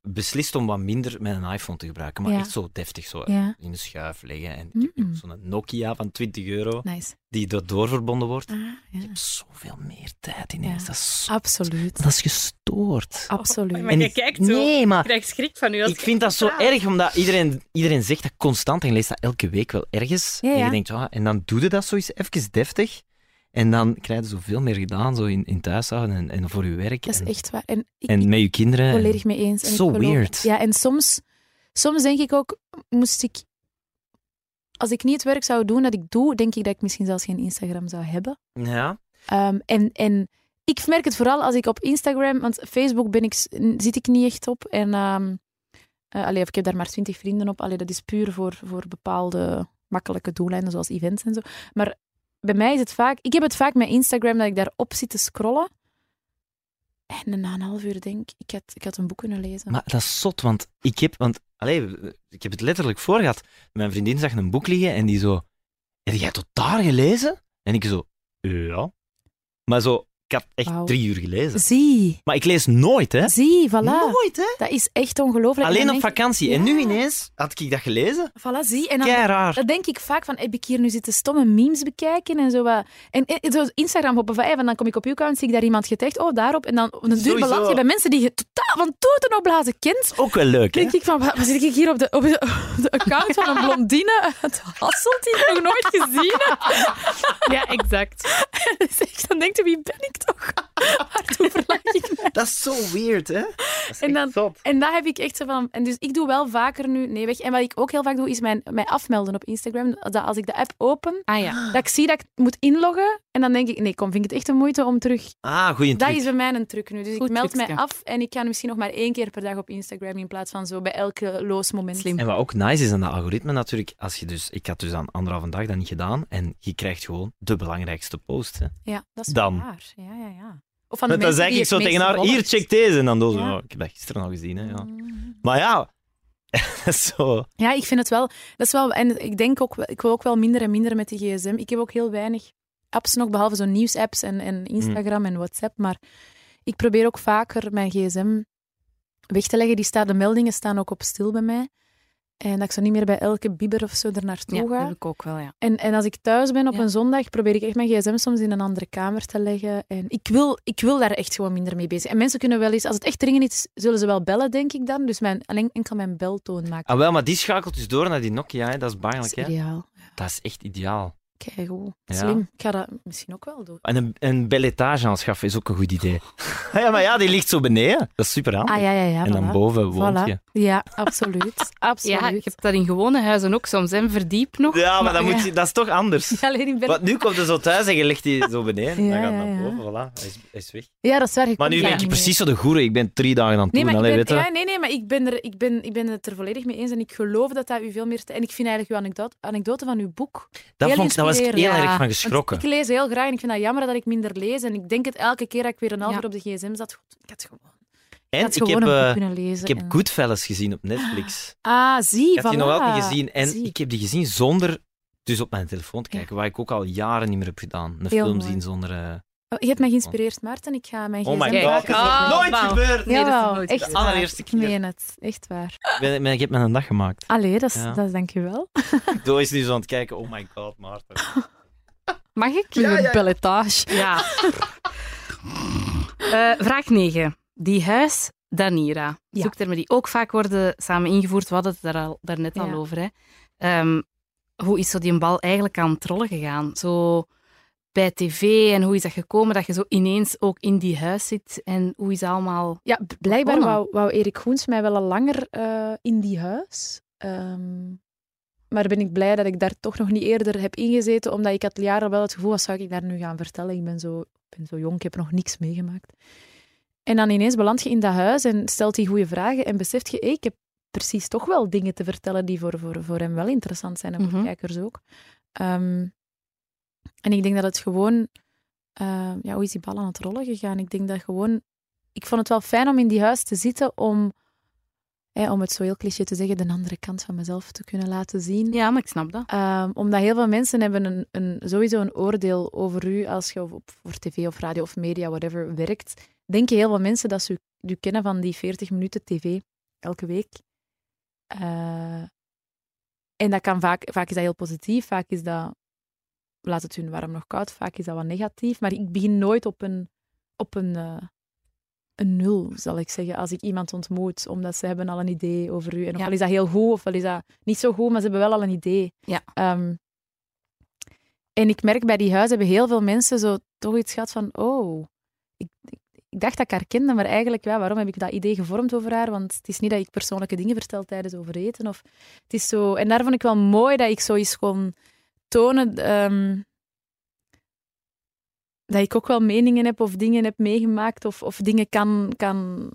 beslist om wat minder mijn iPhone te gebruiken. Maar Ja. echt zo deftig, zo Ja, in de schuif leggen. En ik heb Mm. ook zo'n Nokia van 20 euro, nice. die daardoor verbonden wordt. Ah, ja. Ik heb zoveel meer tijd ineens. Ja. Dat, is zo- Absoluut. dat is gestoord. Absoluut. Maar En jij ik- kijkt zo. Nee, maar Ik krijg schrik van u. Als ik vind dat zo erg, omdat iedereen, iedereen zegt dat constant en je leest dat elke week wel ergens. Ja, En ja. je denkt, ah, en dan doe je dat zo eens even deftig. En dan krijg je zoveel meer gedaan, zo in, in thuishouden en, en voor je werk. Dat is en, echt waar. En ik en met je kinderen. en- volledig mee eens. En ik Zo geloof- weird. Ja, en soms, soms denk ik ook, moest ik... Als ik niet het werk zou doen dat ik doe, denk ik dat ik misschien zelfs geen Instagram zou hebben. Ja. Ehm, en, en ik merk het vooral als ik op Instagram, want Facebook ben ik, s- n- zit ik niet echt op. En ehm, eh, allee, of ik heb daar maar twintig vrienden op. Allee, dat is puur voor, voor bepaalde makkelijke doeleinden, zoals events en zo. Maar bij mij is het vaak, ik heb het vaak met Instagram dat ik daarop zit te scrollen. En na een half uur denk ik, ik had, ik had een boek kunnen lezen. Maar dat is zot, want ik heb, want, allee, ik heb het letterlijk voor gehad. Mijn vriendin zag een boek liggen en die zo... Heb jij tot daar gelezen? En ik zo... Ja. Maar zo, ik had echt Wauw. drie uur gelezen. Zie, Maar ik lees nooit, hè. zie, voilà. Nooit, hè. Dat is echt ongelooflijk. En Alleen dan op denk ik- vakantie. En nu Ja. ineens had ik dat gelezen. Voilà, zie. En dan, Kei raar. Dat denk ik vaak van, heb ik hier nu zitten stomme memes bekijken en zo wat. En, en- en zo Instagram hoppen van, hey, en dan kom ik op uw account, zie ik daar iemand getagd, oh daarop. En dan op een duur Sowieso. beland je bij mensen die je totaal van toeten opblazen kent. Ook wel leuk, hè? Denk ik van, wat, wat zit ik hier op de, op de, op de account van een blondine uit Hasselt die ik nog nooit gezien heb? Ja, exact. Dus echt, dan denkt u, wie ben ik toch? Waartoe verlaat ik mij? Dat is zo weird, hè? Dat is En echt dan- zot. En daar heb ik echt zo van. En dus ik doe wel vaker nu nee weg. En wat ik ook heel vaak doe, is mijn, mij afmelden op Instagram. Dat als ik de app open, Ah ja. dat ik zie dat ik moet inloggen. En dan denk ik, nee, kom, vind ik het echt de moeite om terug. Ah, goeie Dat truc. is bij mij een truc nu. Dus Goed ik meld trucje. mij af en ik kan misschien nog maar één keer per dag op Instagram in plaats van zo bij elke loos moment. Slim. En wat ook nice is aan dat algoritme natuurlijk, als je dus, ik had dus aan anderhalve dag dat niet gedaan, en je krijgt gewoon de belangrijkste post. Hè. Ja, dat is Dan. waar. Ja, ja, ja. Of van de Want dan mensen zeg die ik zo het tegen meeste haar, hier, volgt. check deze. En dan doe ze, Ja. oh, ik heb dat gisteren al gezien, hè. Ja. Mm. Maar ja, dat is zo... Ja, ik vind het wel. Dat is wel en ik denk ook, wel- ik wil ook wel minder en minder met de gsm. Ik heb ook heel weinig apps nog, behalve zo'n nieuwsapps en, en Instagram Mm. en WhatsApp. Maar ik probeer ook vaker mijn gsm weg te leggen. Die staat, de meldingen staan ook op stil bij mij. En dat ik zo niet meer bij elke bieber of zo er naartoe Ja, dat ga. heb ik ook wel, ja. En, en als ik thuis ben op Ja. een zondag, probeer ik echt mijn gsm soms in een andere kamer te leggen. En ik wil, ik wil daar echt gewoon minder mee bezig. En mensen kunnen wel eens, als het echt dringend is, zullen ze wel bellen, denk ik dan. Dus mijn, alleen enkel mijn beltoon maken. Ah wel, maar die schakelt dus door naar die Nokia, hè. dat is dat bangelijk. is Hè. ideaal. Dat is echt ideaal. Kijk, Ja. slim. Ik ga dat misschien ook wel doen. En een, een belletage aanschaffen is ook een goed idee. ja, maar ja, die ligt zo beneden. Dat is super handig. Ah ja, ja, ja. en dan voilà. boven woont Voilà. je. Ja, absoluut. Ja, je absoluut. hebt dat in gewone huizen ook soms, hè? verdiep nog. Ja, maar Maar dan moet ja. je, dat is toch anders. Alleen in België. Want nu komt hij zo thuis en je legt die zo beneden. Ja, dan gaat hij ja, naar ja. boven, voilà. Hij is, hij is weg. Ja, dat is waar. je Maar komt nu daar ben je niet precies zo de goeroe. Ik ben drie dagen aan het Nee, doen. maar Allee, ik weet ben, je. ja, nee, nee, maar ik ben, er, ik, ben, ik ben het er volledig mee eens en ik geloof dat dat u veel meer... te- En ik vind eigenlijk uw anekdote, anekdote van uw boek... dat heel vond ik, daar was ik heel inspirerend. erg van want geschrokken. ik lees heel graag en ik vind dat jammer dat ik minder lees. En ik denk het elke keer dat ik weer een half Ja. uur op de gsm zat. God, ik had gewoon, ik En had ik gewoon heb, een boek eh, kunnen lezen. ik heb en- Goodfellas gezien op Netflix. Ah, zie, Ik had die nog altijd voilà. niet gezien. En Zie. ik heb die gezien zonder dus op mijn telefoon te kijken, wat ik ook al jaren niet meer heb gedaan. Een Heel film mooi. zien zonder... eh, Oh, je hebt mij geïnspireerd, Maarten. Ik ga mijn Oh my gsm Kijk, god, pakken. dat is nog Ah, nooit wauw. gebeurd! Nee, dat is Jawel, nooit echt gedaan. De allereerste waar. keer. Ik meen het, echt waar. Ik, ben, ik ben- ik heb me een dag gemaakt. Allee, dat is, Ja. dat is dankjewel. Doe is nu zo aan het kijken, oh my god, Maarten. Mag ik? Met een belletage. Ja. Eh, vraag 9. Die huis Danira. Ja. Zoektermen die ook vaak worden samen ingevoerd. We hadden het daar al, daarnet al Ja. over. Hè. Ehm, hoe is zo die bal eigenlijk aan het rollen gegaan? Zo bij tv en hoe is dat gekomen dat je zo ineens ook in die huis zit? En hoe is dat allemaal... Ja, b- blijkbaar Begonnen. wou, wou Erik Goens mij wel al langer eh, in die huis. Ehm, maar ben ik blij dat ik daar toch nog niet eerder heb ingezeten, omdat ik had jaren wel het gevoel, wat zou ik daar nu gaan vertellen? Ik ben zo, ik ben zo jong, ik heb nog niks meegemaakt. En dan ineens beland je in dat huis en stelt hij goede vragen en beseft je, hé, ik heb precies toch wel dingen te vertellen die voor, voor, voor hem wel interessant zijn en voor Mhm. kijkers ook. Ehm, en ik denk dat het gewoon... eh, ja, hoe is die bal aan het rollen gegaan? Ik denk dat gewoon ik vond het wel fijn om in die huis te zitten om, hè, om het zo heel cliché te zeggen, de andere kant van mezelf te kunnen laten zien. Ja, maar ik snap dat. Ehm, omdat heel veel mensen hebben een, een, sowieso een oordeel over u als je op, op- voor tv of radio of media, whatever, werkt. Denken heel veel mensen dat ze u, u kennen van die 40 minuten tv elke week. Eh, en dat kan vaak, vaak is dat heel positief, vaak is dat, laat het hun warm nog koud, vaak is dat wat negatief. Maar ik begin nooit op een, op een, eh, een nul, zal ik zeggen, als ik iemand ontmoet, omdat ze hebben al een idee over u. En ofwel Ja. is dat heel goed, ofwel is dat niet zo goed, maar ze hebben wel al een idee. Ja. Ehm, en ik merk bij die huizen hebben heel veel mensen zo toch iets gehad van, oh, ik, ik, ik dacht dat ik haar kende, maar eigenlijk, ja, waarom heb ik dat idee gevormd over haar? Want het is niet dat ik persoonlijke dingen vertel tijdens overeten. Of, het is zo, en daar vond ik wel mooi dat ik zoiets kon tonen. ehm, dat ik ook wel meningen heb of dingen heb meegemaakt of, of dingen kan... kan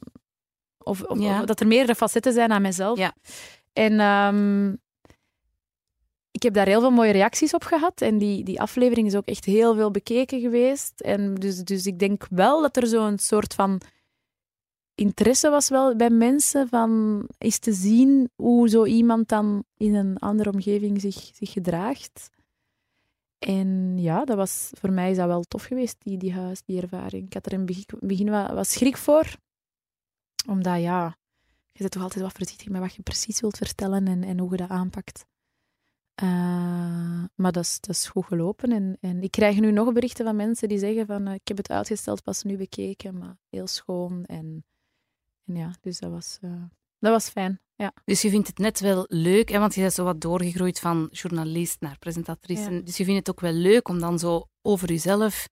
of, of- Ja. of dat er meerdere facetten zijn aan mezelf. Ja. En ehm, ik heb daar heel veel mooie reacties op gehad. En die, die aflevering is ook echt heel veel bekeken geweest. En dus, dus ik denk wel dat er zo'n soort van interesse was wel bij mensen van is te zien hoe zo iemand dan in een andere omgeving zich, zich gedraagt. En ja, dat was, voor mij is dat wel tof geweest, die, die huis, die ervaring. Ik had er in het begin- begin wat, wat schrik voor. Omdat ja, je bent toch altijd wat voorzichtig met wat je precies wilt vertellen en, en hoe je dat aanpakt. Eh, maar dat is, dat is goed gelopen. En, en ik krijg nu nog berichten van mensen die zeggen van eh, ik heb het uitgesteld, pas nu bekeken, maar heel schoon. En, en ja, dus dat was, eh, dat was fijn. Ja. Dus je vindt het net wel leuk, hè, want je bent zo wat doorgegroeid van journalist naar presentatrice. Ja. En Dus je vindt het ook wel leuk om dan zo over jezelf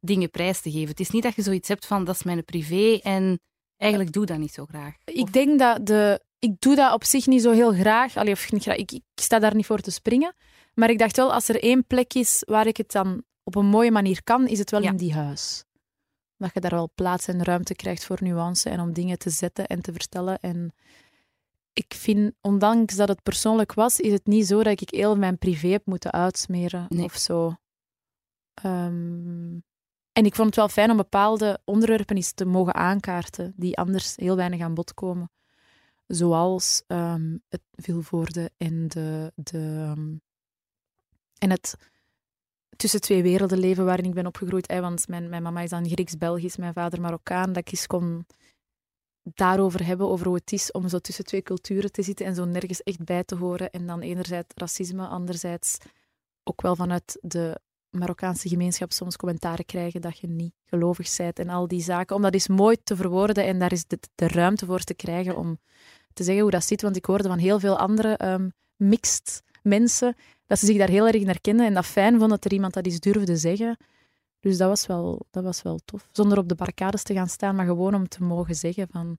dingen prijs te geven. Het is niet dat je zoiets hebt van, dat is mijn privé en eigenlijk doe ik dat niet zo graag. Of- Ik denk dat de. Ik doe dat op zich niet zo heel graag. Allee, of niet graag. Ik, ik sta daar niet voor te springen. Maar ik dacht wel, als er één plek is waar ik het dan op een mooie manier kan, is het wel Ja. in die huis. Dat je daar wel plaats en ruimte krijgt voor nuance en om dingen te zetten en te vertellen. En ik vind, ondanks dat het persoonlijk was, is het niet zo dat ik heel mijn privé heb moeten uitsmeren Nee. of zo. Ehm, en ik vond het wel fijn om bepaalde onderwerpen eens te mogen aankaarten die anders heel weinig aan bod komen. Zoals ehm, het vilvoorde en, de, de, ehm, en het tussen twee werelden leven waarin ik ben opgegroeid. Hè, want mijn, mijn mama is dan Grieks-Belgisch, mijn vader Marokkaan. Dat ik eens kon daarover hebben, over hoe het is om zo tussen twee culturen te zitten en zo nergens echt bij te horen. En dan enerzijds racisme, anderzijds ook wel vanuit de Marokkaanse gemeenschap soms commentaren krijgen dat je niet gelovig bent en al die zaken. Om dat is mooi te verwoorden en daar is de, de ruimte voor te krijgen om te zeggen hoe dat zit. Want ik hoorde van heel veel andere ehm, mixed mensen dat ze zich daar heel erg in herkenden en dat fijn vonden dat er iemand dat eens durfde zeggen. Dus dat was wel, dat was wel tof. Zonder op de barricades te gaan staan, maar gewoon om te mogen zeggen van...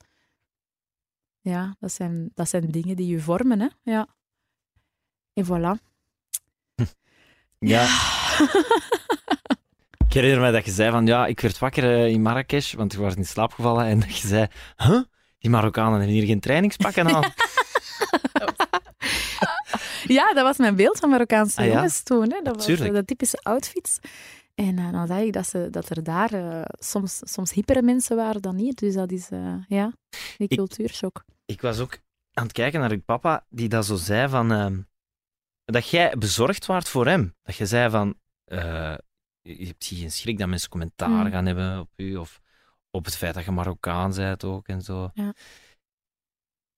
Ja, dat zijn, dat zijn dingen die je vormen, hè. Ja. En voilà. Ja. Ik herinner mij dat je zei van, ja, ik werd wakker eh, in Marrakesh, want ik was in slaap gevallen. En dat je zei, huh? Die Marokkanen hebben hier geen trainingspakken aan. Ja, dat was mijn beeld van Marokkaanse Ah, ja. jongens toen. Hè. Dat was Tuurlijk. eh, de typische outfits. En eh, dan zag ik dat, ze, dat er daar eh, soms, soms hippere mensen waren dan hier. Dus dat is, eh, ja, die Ik- cultuurshock. ik was ook aan het kijken naar uw papa, die dat zo zei van... ehm, dat jij bezorgd waart voor hem. Dat je zei van... eh, je hebt hier geen schrik dat mensen commentaar Mm. gaan hebben op u, of op het feit dat je Marokkaan bent ook en zo. Ja.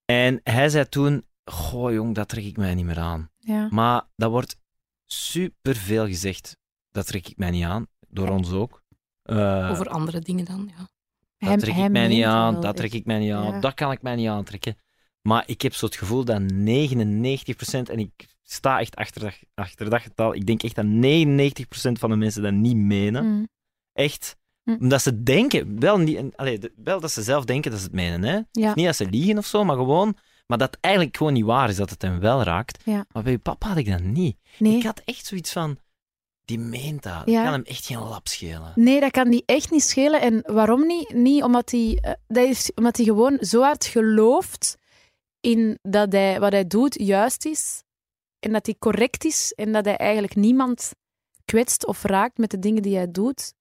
En hij zei toen... Goh jong, dat trek ik mij niet meer aan. Ja. Maar dat wordt superveel gezegd. Dat trek ik mij niet aan. Door ons ook. Eh, Over andere dingen dan, ja. Hij- dat trek hij ik mij meent niet aan, wel dat trek echt. ik mij niet aan, Ja. dat kan ik mij niet aantrekken. Maar ik heb zo het gevoel dat 99%, en ik sta echt achter dat, achter dat getal, ik denk echt dat 99% van de mensen dat niet menen. Mm. Echt. Mm. Omdat ze denken, wel, niet, en- allee, de- wel dat ze zelf denken dat ze het menen. Hè? Ja. Niet dat ze liegen of zo, maar gewoon... Maar dat het eigenlijk gewoon niet waar is, dat het hem wel raakt. Ja. Maar bij je papa had ik dat niet. Nee. Ik had echt zoiets van, die meent dat. Dat Ja. kan hem echt geen lap schelen. Nee, dat kan die echt niet schelen. En waarom niet? Niet omdat hij, eh, dat is, omdat hij gewoon zo hard gelooft in dat hij, wat hij doet juist is. En dat hij correct is. En dat hij eigenlijk niemand kwetst of raakt met de dingen die hij doet.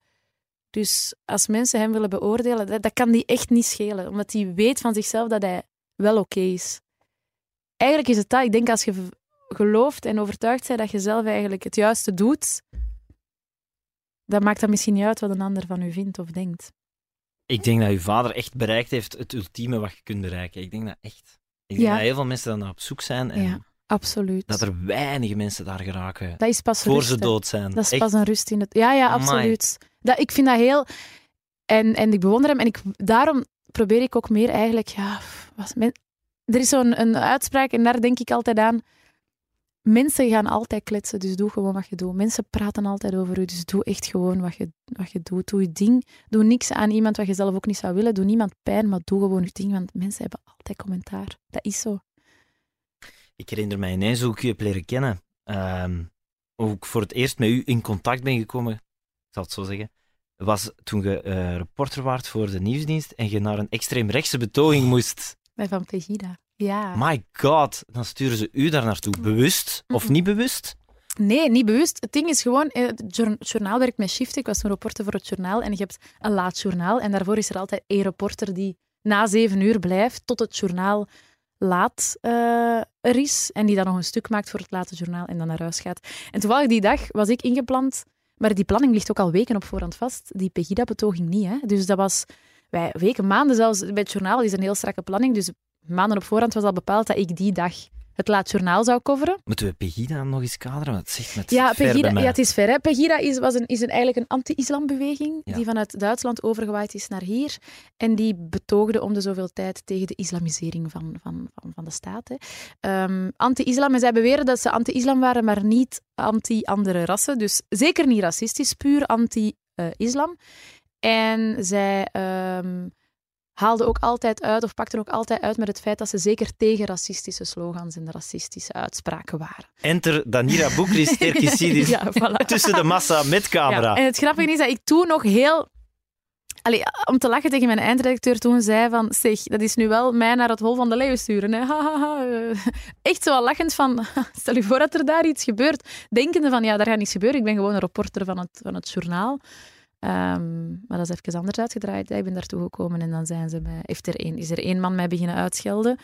Dus als mensen hem willen beoordelen, dat, dat kan die echt niet schelen. Omdat hij weet van zichzelf dat hij wel oké is. Eigenlijk is het dat. Ik denk als je v- gelooft en overtuigd bent dat je zelf eigenlijk het juiste doet, dat maakt dan misschien niet uit wat een ander van u vindt of denkt. Ik denk dat uw vader echt bereikt heeft het ultieme wat je kunt bereiken. Ik denk dat echt. Ik denk Ja. dat heel veel mensen daar naar op zoek zijn en Ja, absoluut. dat er weinig mensen daar geraken Dat is pas voor rust, ze hè. dood zijn. Dat is Echt. pas een rust in het... Ja, ja, Amai. absoluut. Dat, ik vind dat heel... En, en ik bewonder hem. En ik, daarom probeer ik ook meer eigenlijk... Ja, pff, wat, men- er is zo'n een uitspraak en daar denk ik altijd aan. Mensen gaan altijd kletsen, dus doe gewoon wat je doet. Mensen praten altijd over u, dus doe echt gewoon wat je, wat je doet. Doe je ding. Doe niks aan iemand wat je zelf ook niet zou willen. Doe niemand pijn, maar doe gewoon je ding, want mensen hebben altijd commentaar. Dat is zo. Ik herinner mij ineens hoe ik u heb leren kennen. Ehm, hoe ik voor het eerst met u in contact ben gekomen, ik zal het zo zeggen, was toen je eh, reporter waart voor de nieuwsdienst en je naar een extreemrechtse betoging Oh. moest. Bij Van Pegida. Ja. My god, dan sturen ze u daar naartoe. Bewust of Mhm. niet bewust? Nee, niet bewust. Het ding is gewoon, eh, het jour- het journaal werkt met shiften. Ik was een reporter voor het journaal en je hebt een laat journaal. En daarvoor is er altijd één reporter die na zeven uur blijft tot het journaal laat eh, er is. En die dan nog een stuk maakt voor het late journaal en dan naar huis gaat. En toevallig die dag was ik ingepland. Maar die planning ligt ook al weken op voorhand vast. Die Pegida-betoging niet. Hè? Dus dat was wij, weken, maanden zelfs. Bij het journaal is een heel strakke planning. Dus maanden op voorhand was al bepaald dat ik die dag het laat journaal zou coveren. Moeten we Pegida nog eens kaderen? Want het zegt met Ja, ver bij Pegida, mij. ja, het is ver. Hè. Pegida is, was een, is een, eigenlijk een anti-islambeweging Ja. die vanuit Duitsland overgewaaid is naar hier. En die betoogde om de zoveel tijd tegen de islamisering van, van, van, van de staat. hè. Ehm, anti-islam, en zij beweren dat ze anti-islam waren, maar niet anti-andere rassen. Dus zeker niet racistisch, puur anti-islam. en zij ehm haalden ook altijd uit, of pakten ook altijd uit met het feit dat ze zeker tegen racistische slogans en racistische uitspraken waren. Enter Danira Boekris Terkisidis ja, voilà. tussen de massa met camera. Ja, en het grappige is dat ik toen nog heel... Allee, om te lachen tegen mijn eindredacteur toen zei van... Zeg, dat is nu wel mij naar het hol van de leeuw sturen. Hè. Ha, ha, ha. Echt zo al lachend van... Stel je voor dat er daar iets gebeurt. Denkende van, ja, daar gaat niets gebeuren. Ik ben gewoon een reporter van het, van het journaal. Ehm, maar dat is even anders uitgedraaid. hè. Ik ben daartoe gekomen en dan zijn ze bij, heeft er één, is er één man mij beginnen uitschelden.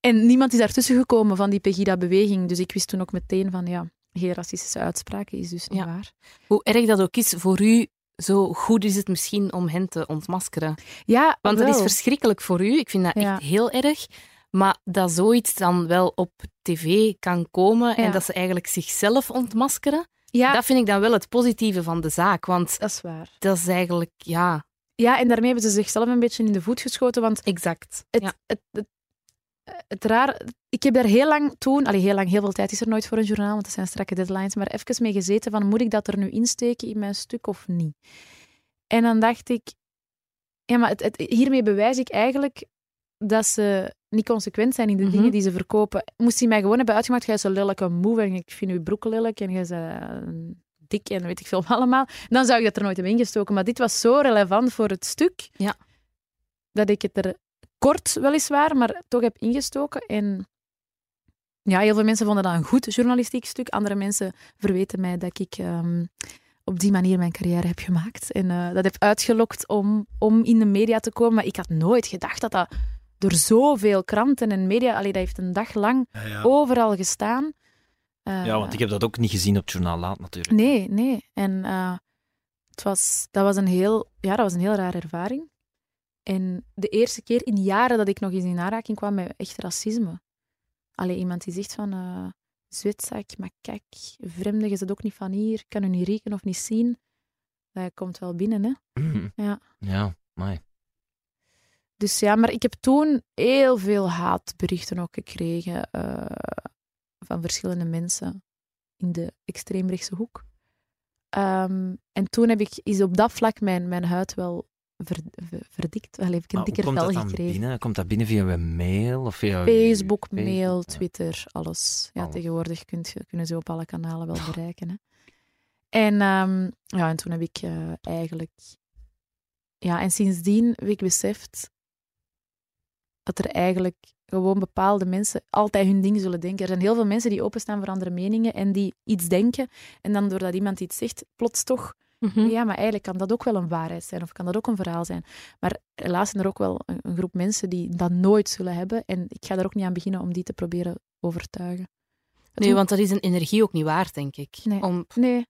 En niemand is daartussen gekomen van die Pegida-beweging. Dus ik wist toen ook meteen van, ja, geen racistische uitspraken is dus niet Ja. waar. Hoe erg dat ook is voor u, zo goed is het misschien om hen te ontmaskeren. Ja, Want dat is wel. verschrikkelijk voor u. Ik vind dat Ja. echt heel erg. Maar dat zoiets dan wel op tv kan komen en Ja. dat ze eigenlijk zichzelf ontmaskeren, Ja, dat vind ik dan wel het positieve van de zaak. Want eh, dat is waar. dat is eigenlijk, ja, Ja, en daarmee hebben ze zichzelf een beetje in de voet geschoten, want exact. het, Ja. het, het, het raar... Ik heb daar heel lang toen... Allee, heel lang, heel veel tijd is er nooit voor een journaal, want dat zijn strakke deadlines, maar even mee gezeten van, moet ik dat er nu insteken in mijn stuk of niet? En dan dacht ik... Ja, maar het, het- hiermee bewijs ik eigenlijk dat ze niet consequent zijn in de Mhm. dingen die ze verkopen. Moest hij mij gewoon hebben uitgemaakt, jij is een lelijke moe en ik vind uw broek lelijk en jij is eh, dik en weet ik veel wat allemaal. Dan zou ik dat er nooit hebben ingestoken. Maar dit was zo relevant voor het stuk, Ja. dat ik het er kort weliswaar, maar toch heb ingestoken. En ja, heel veel mensen vonden dat een goed journalistiek stuk. Andere mensen verweten mij dat ik... ehm, op die manier mijn carrière heb gemaakt. En eh, dat heb uitgelokt om, om in de media te komen. Maar ik had nooit gedacht dat dat door zoveel kranten en media... Allee, dat heeft een dag lang Ja, ja. overal gestaan. Eh, Ja, want ik heb dat ook niet gezien op het journaal laat natuurlijk. Nee, nee. En eh, het was, dat, was een heel, ja, dat was een heel rare ervaring. En de eerste keer in jaren dat ik nog eens in aanraking kwam met echt racisme. Allee, iemand die zegt van... eh Zwetzak, maar kijk, vreemden, je zit ook niet van hier, ik kan u niet rieken of niet zien. Dat komt wel binnen, hè. Ja. Mm. Ja, maar Dus ja, maar ik heb toen heel veel haatberichten ook gekregen eh, van verschillende mensen in de extreemrechtse hoek. Ehm, en toen heb ik, is op dat vlak mijn, mijn huid wel ver, ver- verdikt. Wel heb ik een Maar hoe dikker komt dat vel dan gekregen. binnen? Komt dat binnen via een mail of via uw- Facebook, mail, Facebook? Ja. Twitter, alles. Ja, Alles. tegenwoordig kunt, je- kunnen ze op alle kanalen wel bereiken. Hè. En, ehm, ja, en toen heb ik eh, eigenlijk... Ja, en sindsdien heb ik beseft dat er eigenlijk gewoon bepaalde mensen altijd hun ding zullen denken. Er zijn heel veel mensen die openstaan voor andere meningen en die iets denken. En dan doordat iemand iets zegt, plots toch Mhm. ja, maar eigenlijk kan dat ook wel een waarheid zijn of kan dat ook een verhaal zijn. Maar helaas zijn er ook wel een, een groep mensen die dat nooit zullen hebben. En ik ga er ook niet aan beginnen om die te proberen overtuigen. Het Nee, moet- want dat is een energie ook niet waard, denk ik. Nee. Om, ik Nee.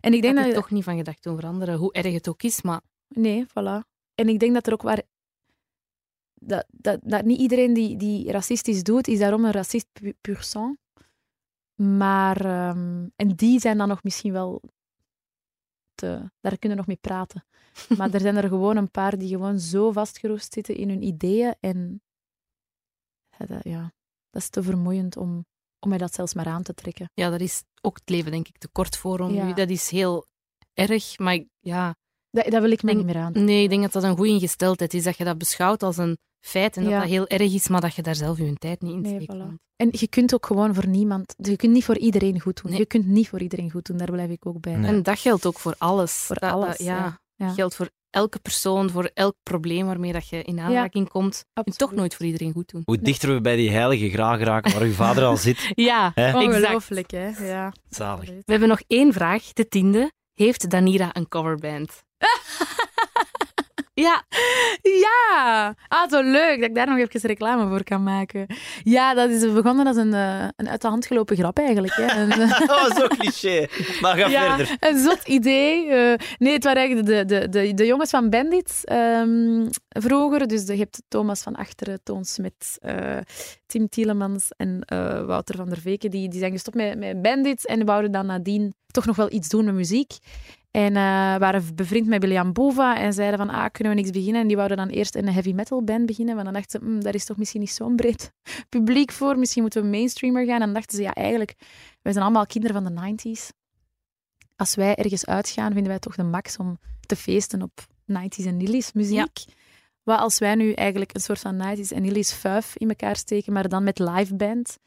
En ik denk denk dat... dat toch niet van gedachten over anderen, hoe erg het ook is, maar Nee, voilà. En ik denk dat er ook waar... Dat, dat, dat niet iedereen die, die racistisch doet, is daarom een racist pu- pur sang. Maar... ehm, en die zijn dan nog misschien wel... Te, daar kunnen we nog mee praten. Maar er zijn er gewoon een paar die gewoon zo vastgeroest zitten in hun ideeën. En ja, dat, ja, dat is te vermoeiend om, om mij dat zelfs maar aan te trekken. ja, daar is ook het leven, denk ik, te kort voor om Ja. u. Dat is heel erg, maar ik- ja... Dat, dat wil ik mij Denk- niet meer aan. Nee, ik denk dat dat een goede ingesteldheid is, dat je dat beschouwt als een feit en Ja. dat dat heel erg is, maar dat je daar zelf je tijd niet in Nee, steekt. voilà. want- En je kunt ook gewoon voor niemand... dus Je kunt niet voor iedereen goed doen. Nee. Je kunt niet voor iedereen goed doen, daar blijf ik ook bij. Nee. En dat geldt ook voor alles. Voor Dat- dat- alles, ja. ja. Ja. geldt voor elke persoon, voor elk probleem waarmee dat je in aanraking komt. Je kunt Absoluut. toch nooit voor iedereen goed doen. Hoe dichter we bij die heilige graag raken waar uw vader al zit, Ja, Hè? Ongelooflijk, hè? Ja. zalig. We hebben nog één vraag, de tiende. Heeft Danira een coverband? ja, Ja! Ah, zo leuk dat ik daar nog even reclame voor kan maken. Ja, dat is begonnen als een, eh, een uit de hand gelopen grap eigenlijk. Hè? eh, Een- Dat was ook Oh, cliché. Maar ga ja, verder. een zot idee. Eh, nee, het waren eigenlijk de, de, de, de jongens van Bandits ehm, vroeger. Dus de, je hebt Thomas van Achteren, Toon Smit, eh, Tim Tielemans en eh, Wouter van der Veken. Die, die zijn gestopt met, met Bandits en wouden dan nadien toch nog wel iets doen met muziek. En eh, waren bevriend met William Bova en zeiden van, ah, kunnen we niks beginnen? En die wouden dan eerst een heavy metal band beginnen. Maar dan dachten ze, "Mm, daar is toch misschien niet zo'n breed publiek voor. Misschien moeten we mainstreamer gaan. En dan dachten ze, ja, eigenlijk, wij zijn allemaal kinderen van de 90s als wij ergens uitgaan, vinden wij toch de max om te feesten op 90s en Nillies muziek. Wat als wij nu eigenlijk een soort van 90s en Nillies vuif in elkaar steken, maar dan met live band.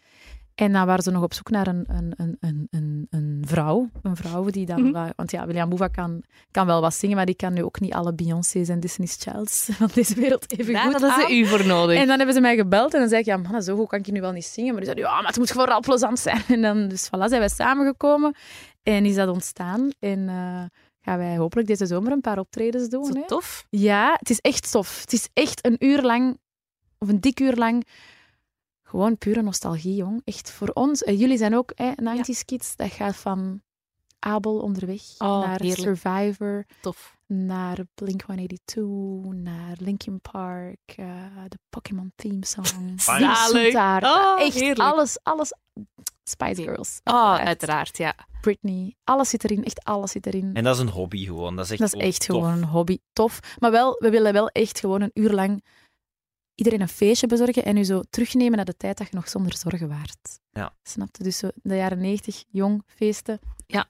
En dan waren ze nog op zoek naar een, een, een, een, een, een vrouw. Een vrouw die dan... Mhm. wa- Want ja, William Boeva kan, kan wel wat zingen, maar die kan nu ook niet alle Beyoncé's en Disney's Childs van deze wereld even daar goed hadden aan. ze u voor nodig. En dan hebben ze mij gebeld en dan zei ik, ja man, zo goed kan ik je nu wel niet zingen. Maar die zei, ja, maar het moet gewoon wel plezant zijn. En dan, dus voilà, zijn wij samengekomen en is dat ontstaan. En eh, gaan wij hopelijk deze zomer een paar optredens doen. Zo hè. tof. Ja, het is echt tof. Het is echt een uur lang, of een dik uur lang, gewoon pure nostalgie, jong. Echt voor ons. En jullie zijn ook hè, 90s kids. Dat gaat van Abel onderweg Oh, naar heerlijk. Survivor Tof. naar Blink 182, naar Linkin Park, eh, de Pokémon theme song. Zalig. Daar, Oh, echt heerlijk. alles, alles. Spice Girls. Oh, Echt. uiteraard, ja. Britney. Alles zit erin, echt alles zit erin. En dat is een hobby gewoon. Dat is echt, dat is echt tof. gewoon een hobby. Tof. Maar wel, we willen wel echt gewoon een uur lang iedereen een feestje bezorgen en u zo terugnemen naar de tijd dat je nog zonder zorgen waart. Ja. Snapte? Dus zo de jaren 90, jong, feesten. E-, Ja.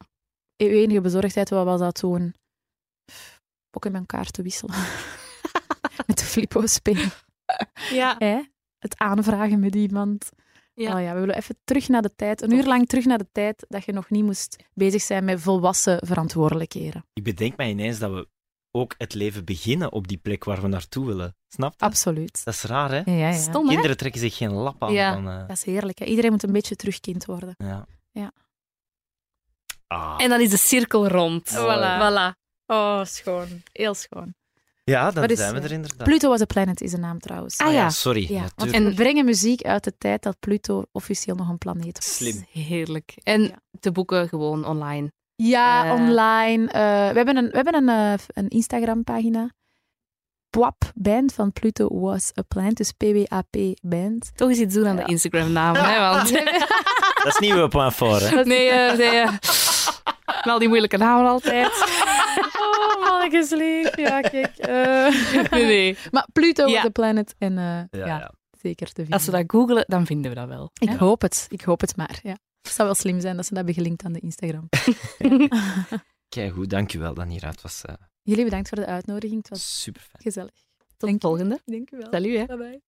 Uw enige bezorgdheid, wat was dat toen? Pokémon kaarten wisselen. Met de flippo spelen. Ja, Hè? het aanvragen met iemand. Ja. Ja. ja, we willen even terug naar de tijd, een uur lang terug naar de tijd dat je nog niet moest bezig zijn met volwassen verantwoordelijkheden. Ik bedenk mij ineens dat we ook het leven beginnen op die plek waar we naartoe willen. Snap je? Absoluut. Dat is raar, hè? Ja, ja, ja. Stom, hè? Kinderen trekken zich geen lap aan. Ja. Van, eh, Dat is heerlijk. Hè? Iedereen moet een beetje terugkind worden. ja. Ja. Ah. En dan is de cirkel rond. Voilà. Voilà. Oh, schoon. Heel schoon. ja, dan Wat is, zijn we eh, er inderdaad. Pluto was a planet is de naam trouwens. Ah, Ah ja. sorry. Ja, want natuurlijk. we brengen muziek uit de tijd dat Pluto officieel nog een planeet was. Slim. Heerlijk. En Ja. te boeken gewoon online. Ja, Eh. online. Eh, we hebben een, we hebben een, eh, een Instagram-pagina. Pwap Band van Pluto Was a Planet, dus PWAP Band. Toch eens iets doen aan Ja. de Instagram-naam. hè, want- Dat is niet uw plan voor, hè? nee, eh, nee. eh. Met al die moeilijke namen altijd. Oh, mannetjes lief. Ja, kijk. eh. Nee, nee. Maar Pluto Ja. was a Planet en eh, ja, Ja, ja. zeker te vinden. Als we dat googelen, dan vinden we dat wel. Ik hè? hoop het. Ik hoop het maar. Ja. Het zou wel slim zijn dat ze dat hebben gelinkt aan de Instagram. Kijk, goed, dankjewel, Danira. Het was eh, Jullie bedankt voor de uitnodiging. Het was super fijn. gezellig. Tot de volgende. Dank u wel. Salut, hè. Bye bye.